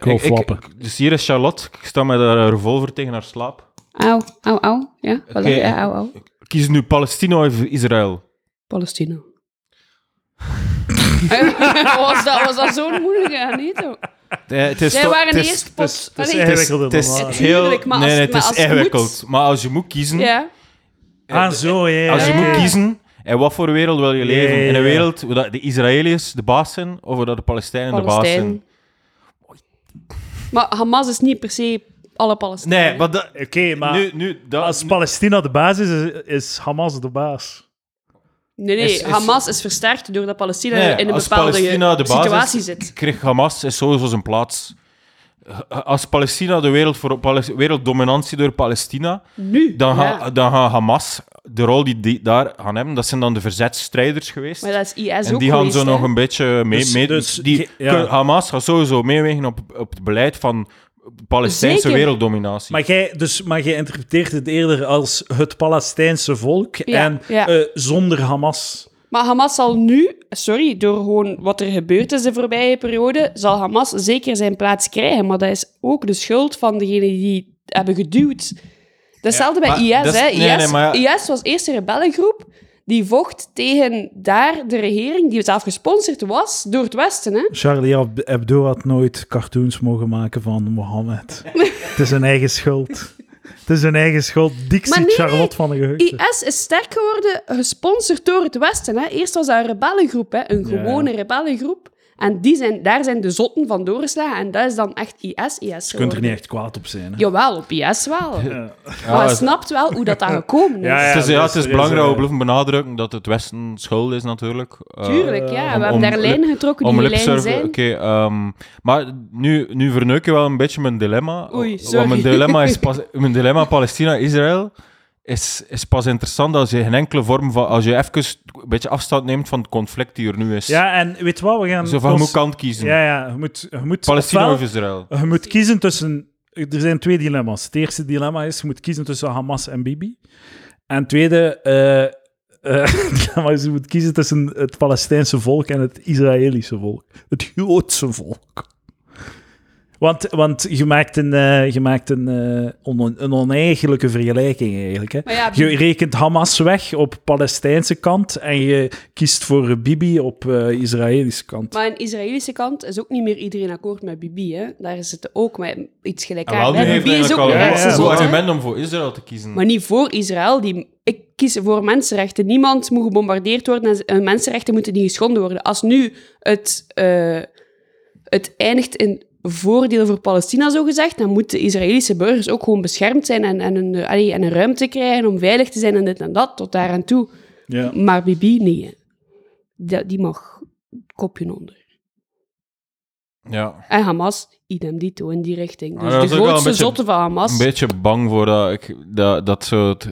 S1: wou flappen.
S2: dus hier is Charlotte. Ik sta met haar revolver tegen haar slaap.
S3: Auw, auw, auw. Ja, voilà.
S2: Oké.
S3: Ja, auw, auw.
S2: Kies nu Palestina of Israël?
S3: [LAUGHS] Palestina. Eh, was, dat, was dat zo'n moeilijke? Ja, niet hoor.
S2: Eh, het is
S3: Zij
S2: toch-
S3: waren
S2: het is-
S3: eerst
S1: Het is,
S3: pot...
S1: het is
S3: Allee,
S1: ingewikkelder
S2: Het
S1: dan
S2: is
S1: waar.
S3: het-
S2: heel...
S3: Tuurlijk, maar
S2: nee,
S3: als-
S2: nee, het
S3: maar
S2: is
S3: als het
S2: ingewikkeld. Maar als je moet kiezen...
S3: Ja,
S2: eh,
S1: Ah, zo, ja.
S2: Als je
S1: oké.
S2: moet kiezen... In wat voor wereld wil je
S1: Ja,
S2: leven?
S1: ja,
S2: In een
S1: ja.
S2: wereld waar dat de Israëliërs de baas zijn of waar dat de Palestijnen de baas
S3: Palestijn.
S2: zijn?
S3: Maar Hamas is niet per se alle Palestijnen.
S2: Nee, maar dat...
S1: Oké, maar
S2: nu, nu, dat
S1: als Palestina de baas is, is, is Hamas de baas.
S3: Nee, nee,
S2: Is- is-
S3: Hamas is versterkt doordat Palestina
S2: Nee,
S3: in een
S2: als
S3: bepaalde
S2: Palestina de baas
S3: situatie
S2: is,
S3: zit.
S2: kreeg Hamas is sowieso zijn plaats. Als Palestina de wereld voor Pales- werelddominantie door Palestina,
S3: Nu.
S2: dan,
S3: ja.
S2: ga, dan gaan Hamas de rol die die daar gaan hebben, dat zijn dan de verzetstrijders geweest.
S3: Maar dat is IS
S2: en
S3: ook
S2: die gaan
S3: geweest,
S2: zo
S3: hè.
S2: nog een beetje mee.
S1: Dus-
S2: mee-
S1: dus
S2: die,
S1: ge- ja.
S2: Hamas gaat sowieso meewegen op, op het beleid van Palestijnse
S3: Zeker.
S2: werelddominatie.
S1: Maar jij, dus, maar jij interpreteert het eerder als het Palestijnse volk
S3: Ja,
S1: en
S3: ja.
S1: eh, zonder Hamas.
S3: Maar Hamas zal nu, sorry, door gewoon wat er gebeurd is de voorbije periode, zal Hamas zeker zijn plaats krijgen. Maar dat is ook de schuld van degenen die hebben geduwd. Dat is Hetzelfde bij
S2: maar
S3: IS,
S2: dat is-
S3: hè.
S2: nee,
S3: IS,
S2: nee, maar-
S3: IS was eerst een rebellengroep die vocht tegen daar de regering, die zelf gesponsord was door het Westen, hè.
S1: Charlie Ab- Hebdo had nooit cartoons mogen maken van Mohammed. het is zijn eigen schuld. Het is zijn eigen schuld. Dixie
S3: Maar nee,
S1: Charlotte van de Geheugden.
S3: IS is sterk geworden, gesponsord door het Westen. Hè. Eerst was dat een rebellengroep, hè. een
S1: Ja.
S3: gewone rebellengroep. En die zijn, daar zijn de zotten van doorgeslagen. En dat is dan echt IS, IS
S1: Je kunt er
S3: geworden.
S1: niet echt kwaad op zijn. Hè?
S3: Jawel, op IS wel.
S2: Ja,
S3: Maar je
S2: het,
S3: snapt wel hoe dat daar gekomen is.
S1: Ja, ja.
S2: het is, ja, het
S1: er
S2: is
S1: is,
S2: belangrijk
S1: eh,
S2: dat we blijven benadrukken dat het Westen schuld is, natuurlijk. Eh,
S3: Tuurlijk, ja. We
S2: om-
S3: hebben
S2: om
S3: daar
S2: Oh, lip-
S3: lijnen getrokken die
S2: Om
S3: die lijnen
S2: lipserven,
S3: zijn.
S2: oké. ehm, maar nu, nu verneuk je wel een beetje mijn dilemma.
S3: Oei,
S2: Want
S3: sorry.
S2: mijn dilemma, is
S3: [LAUGHS]
S2: pas, mijn dilemma Palestina-Israël is, is pas interessant als je geen enkele vorm van... Als je even een beetje afstand neemt van het conflict die er nu is.
S1: Ja, en weet wat, we gaan...
S2: Zo van, je moet
S1: ons-
S2: kant kiezen.
S1: Ja, ja, je moet, je moet
S2: Palestina
S1: ofwel-
S2: of Israël.
S1: Je moet kiezen tussen. Er zijn twee dilemma's. Het eerste dilemma is: je moet kiezen tussen Hamas en Bibi. En het tweede eh, [LAUGHS] eh, dilemma is: je moet kiezen tussen het Palestijnse volk en het Israëlische volk. Het Joodse volk. Want, want je maakt een, eh, je maakt een, eh, on- een oneigenlijke vergelijking eigenlijk. Hè?
S3: Maar ja,
S1: Je rekent Hamas weg op Palestijnse kant en je kiest voor Bibi op eh, Israëlische kant.
S3: maar aan de Israëlische kant is ook niet meer iedereen akkoord met Bibi. Hè. Daar is het ook met iets
S2: En Ah, wel,
S3: gelijkaardigs.
S2: nu
S3: hè.
S2: heeft
S3: Bibi is
S2: eigenlijk
S3: ook
S2: al
S3: een
S1: ja, ja.
S2: een
S3: rechtse
S1: rechtse
S2: goed
S1: zon,
S3: zon, hè.
S2: argument om voor Israël te kiezen.
S3: Maar niet voor Israël. Die, ik kies voor mensenrechten. Niemand moet gebombardeerd worden en z- en mensenrechten moeten niet geschonden worden. Als nu het, eh, het eindigt in voordeel voor Palestina, zogezegd, dan moeten de Israëlische burgers ook gewoon beschermd zijn en, en, een, eh, allee, en een ruimte krijgen om veilig te zijn en dit en dat, tot daar aan toe.
S1: Ja.
S3: Maar Bibi, nee. hè. Dat- die mag kopje onder.
S2: Ja.
S3: En Hamas, idem dito in die richting.
S2: Maar
S3: Dus
S2: Ah, dat
S3: de
S2: is ook wel een
S3: grootste
S2: beetje-
S3: zotte van Hamas.
S2: Een beetje bang voor dat, ik, dat, dat, zo, het-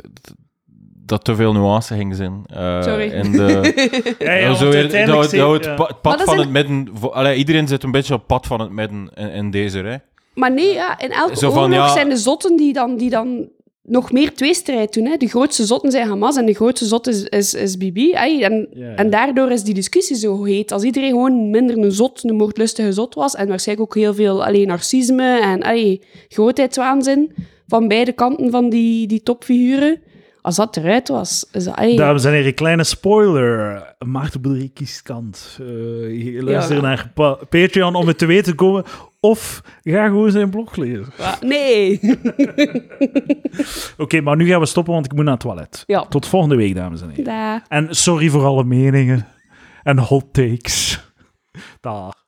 S2: dat te veel nuance ging zijn. eh,
S3: Sorry.
S2: in
S3: [LAUGHS]
S2: de,
S1: Ja, ja,
S2: Ja,
S1: want
S2: zo weer,
S1: uiteindelijk
S2: dat,
S1: zie-
S2: dat het
S1: ja.
S2: pa- het
S3: Maar
S2: pad
S3: dat
S2: van
S3: zijn-
S2: het midden... vo- Allee, iedereen zit een beetje op het pad van het midden in, in deze, hè.
S3: Maar nee, ja, in elke
S2: Zo van,
S3: oorlog
S2: ja-
S3: zijn de zotten die dan, die dan nog meer tweestrijd doen. Hè. De grootste zotten zijn Hamas en de grootste zot is, is, is Bibi. hè. en,
S1: Ja, ja.
S3: en daardoor is die discussie zo heet. Als iedereen gewoon minder een zot, een moordlustige zot was, en waarschijnlijk ook heel veel alleen narcisme en allee, grootheidswaanzin van beide kanten van die, die topfiguren, als dat eruit was... Is dat, allee,
S1: Dames en heren, kleine spoiler. Maarten Boudry kiest kant. Eh, luister
S3: Ja.
S1: naar pa- Patreon om het te weten te komen. Of ga gewoon zijn blog lezen.
S3: wa- Ah, Nee! [LAUGHS]
S1: Oké, maar nu gaan we stoppen, want ik moet naar het toilet.
S3: Ja.
S1: Tot volgende week, dames en heren.
S3: Da.
S1: En sorry voor alle meningen en hot takes. Dag.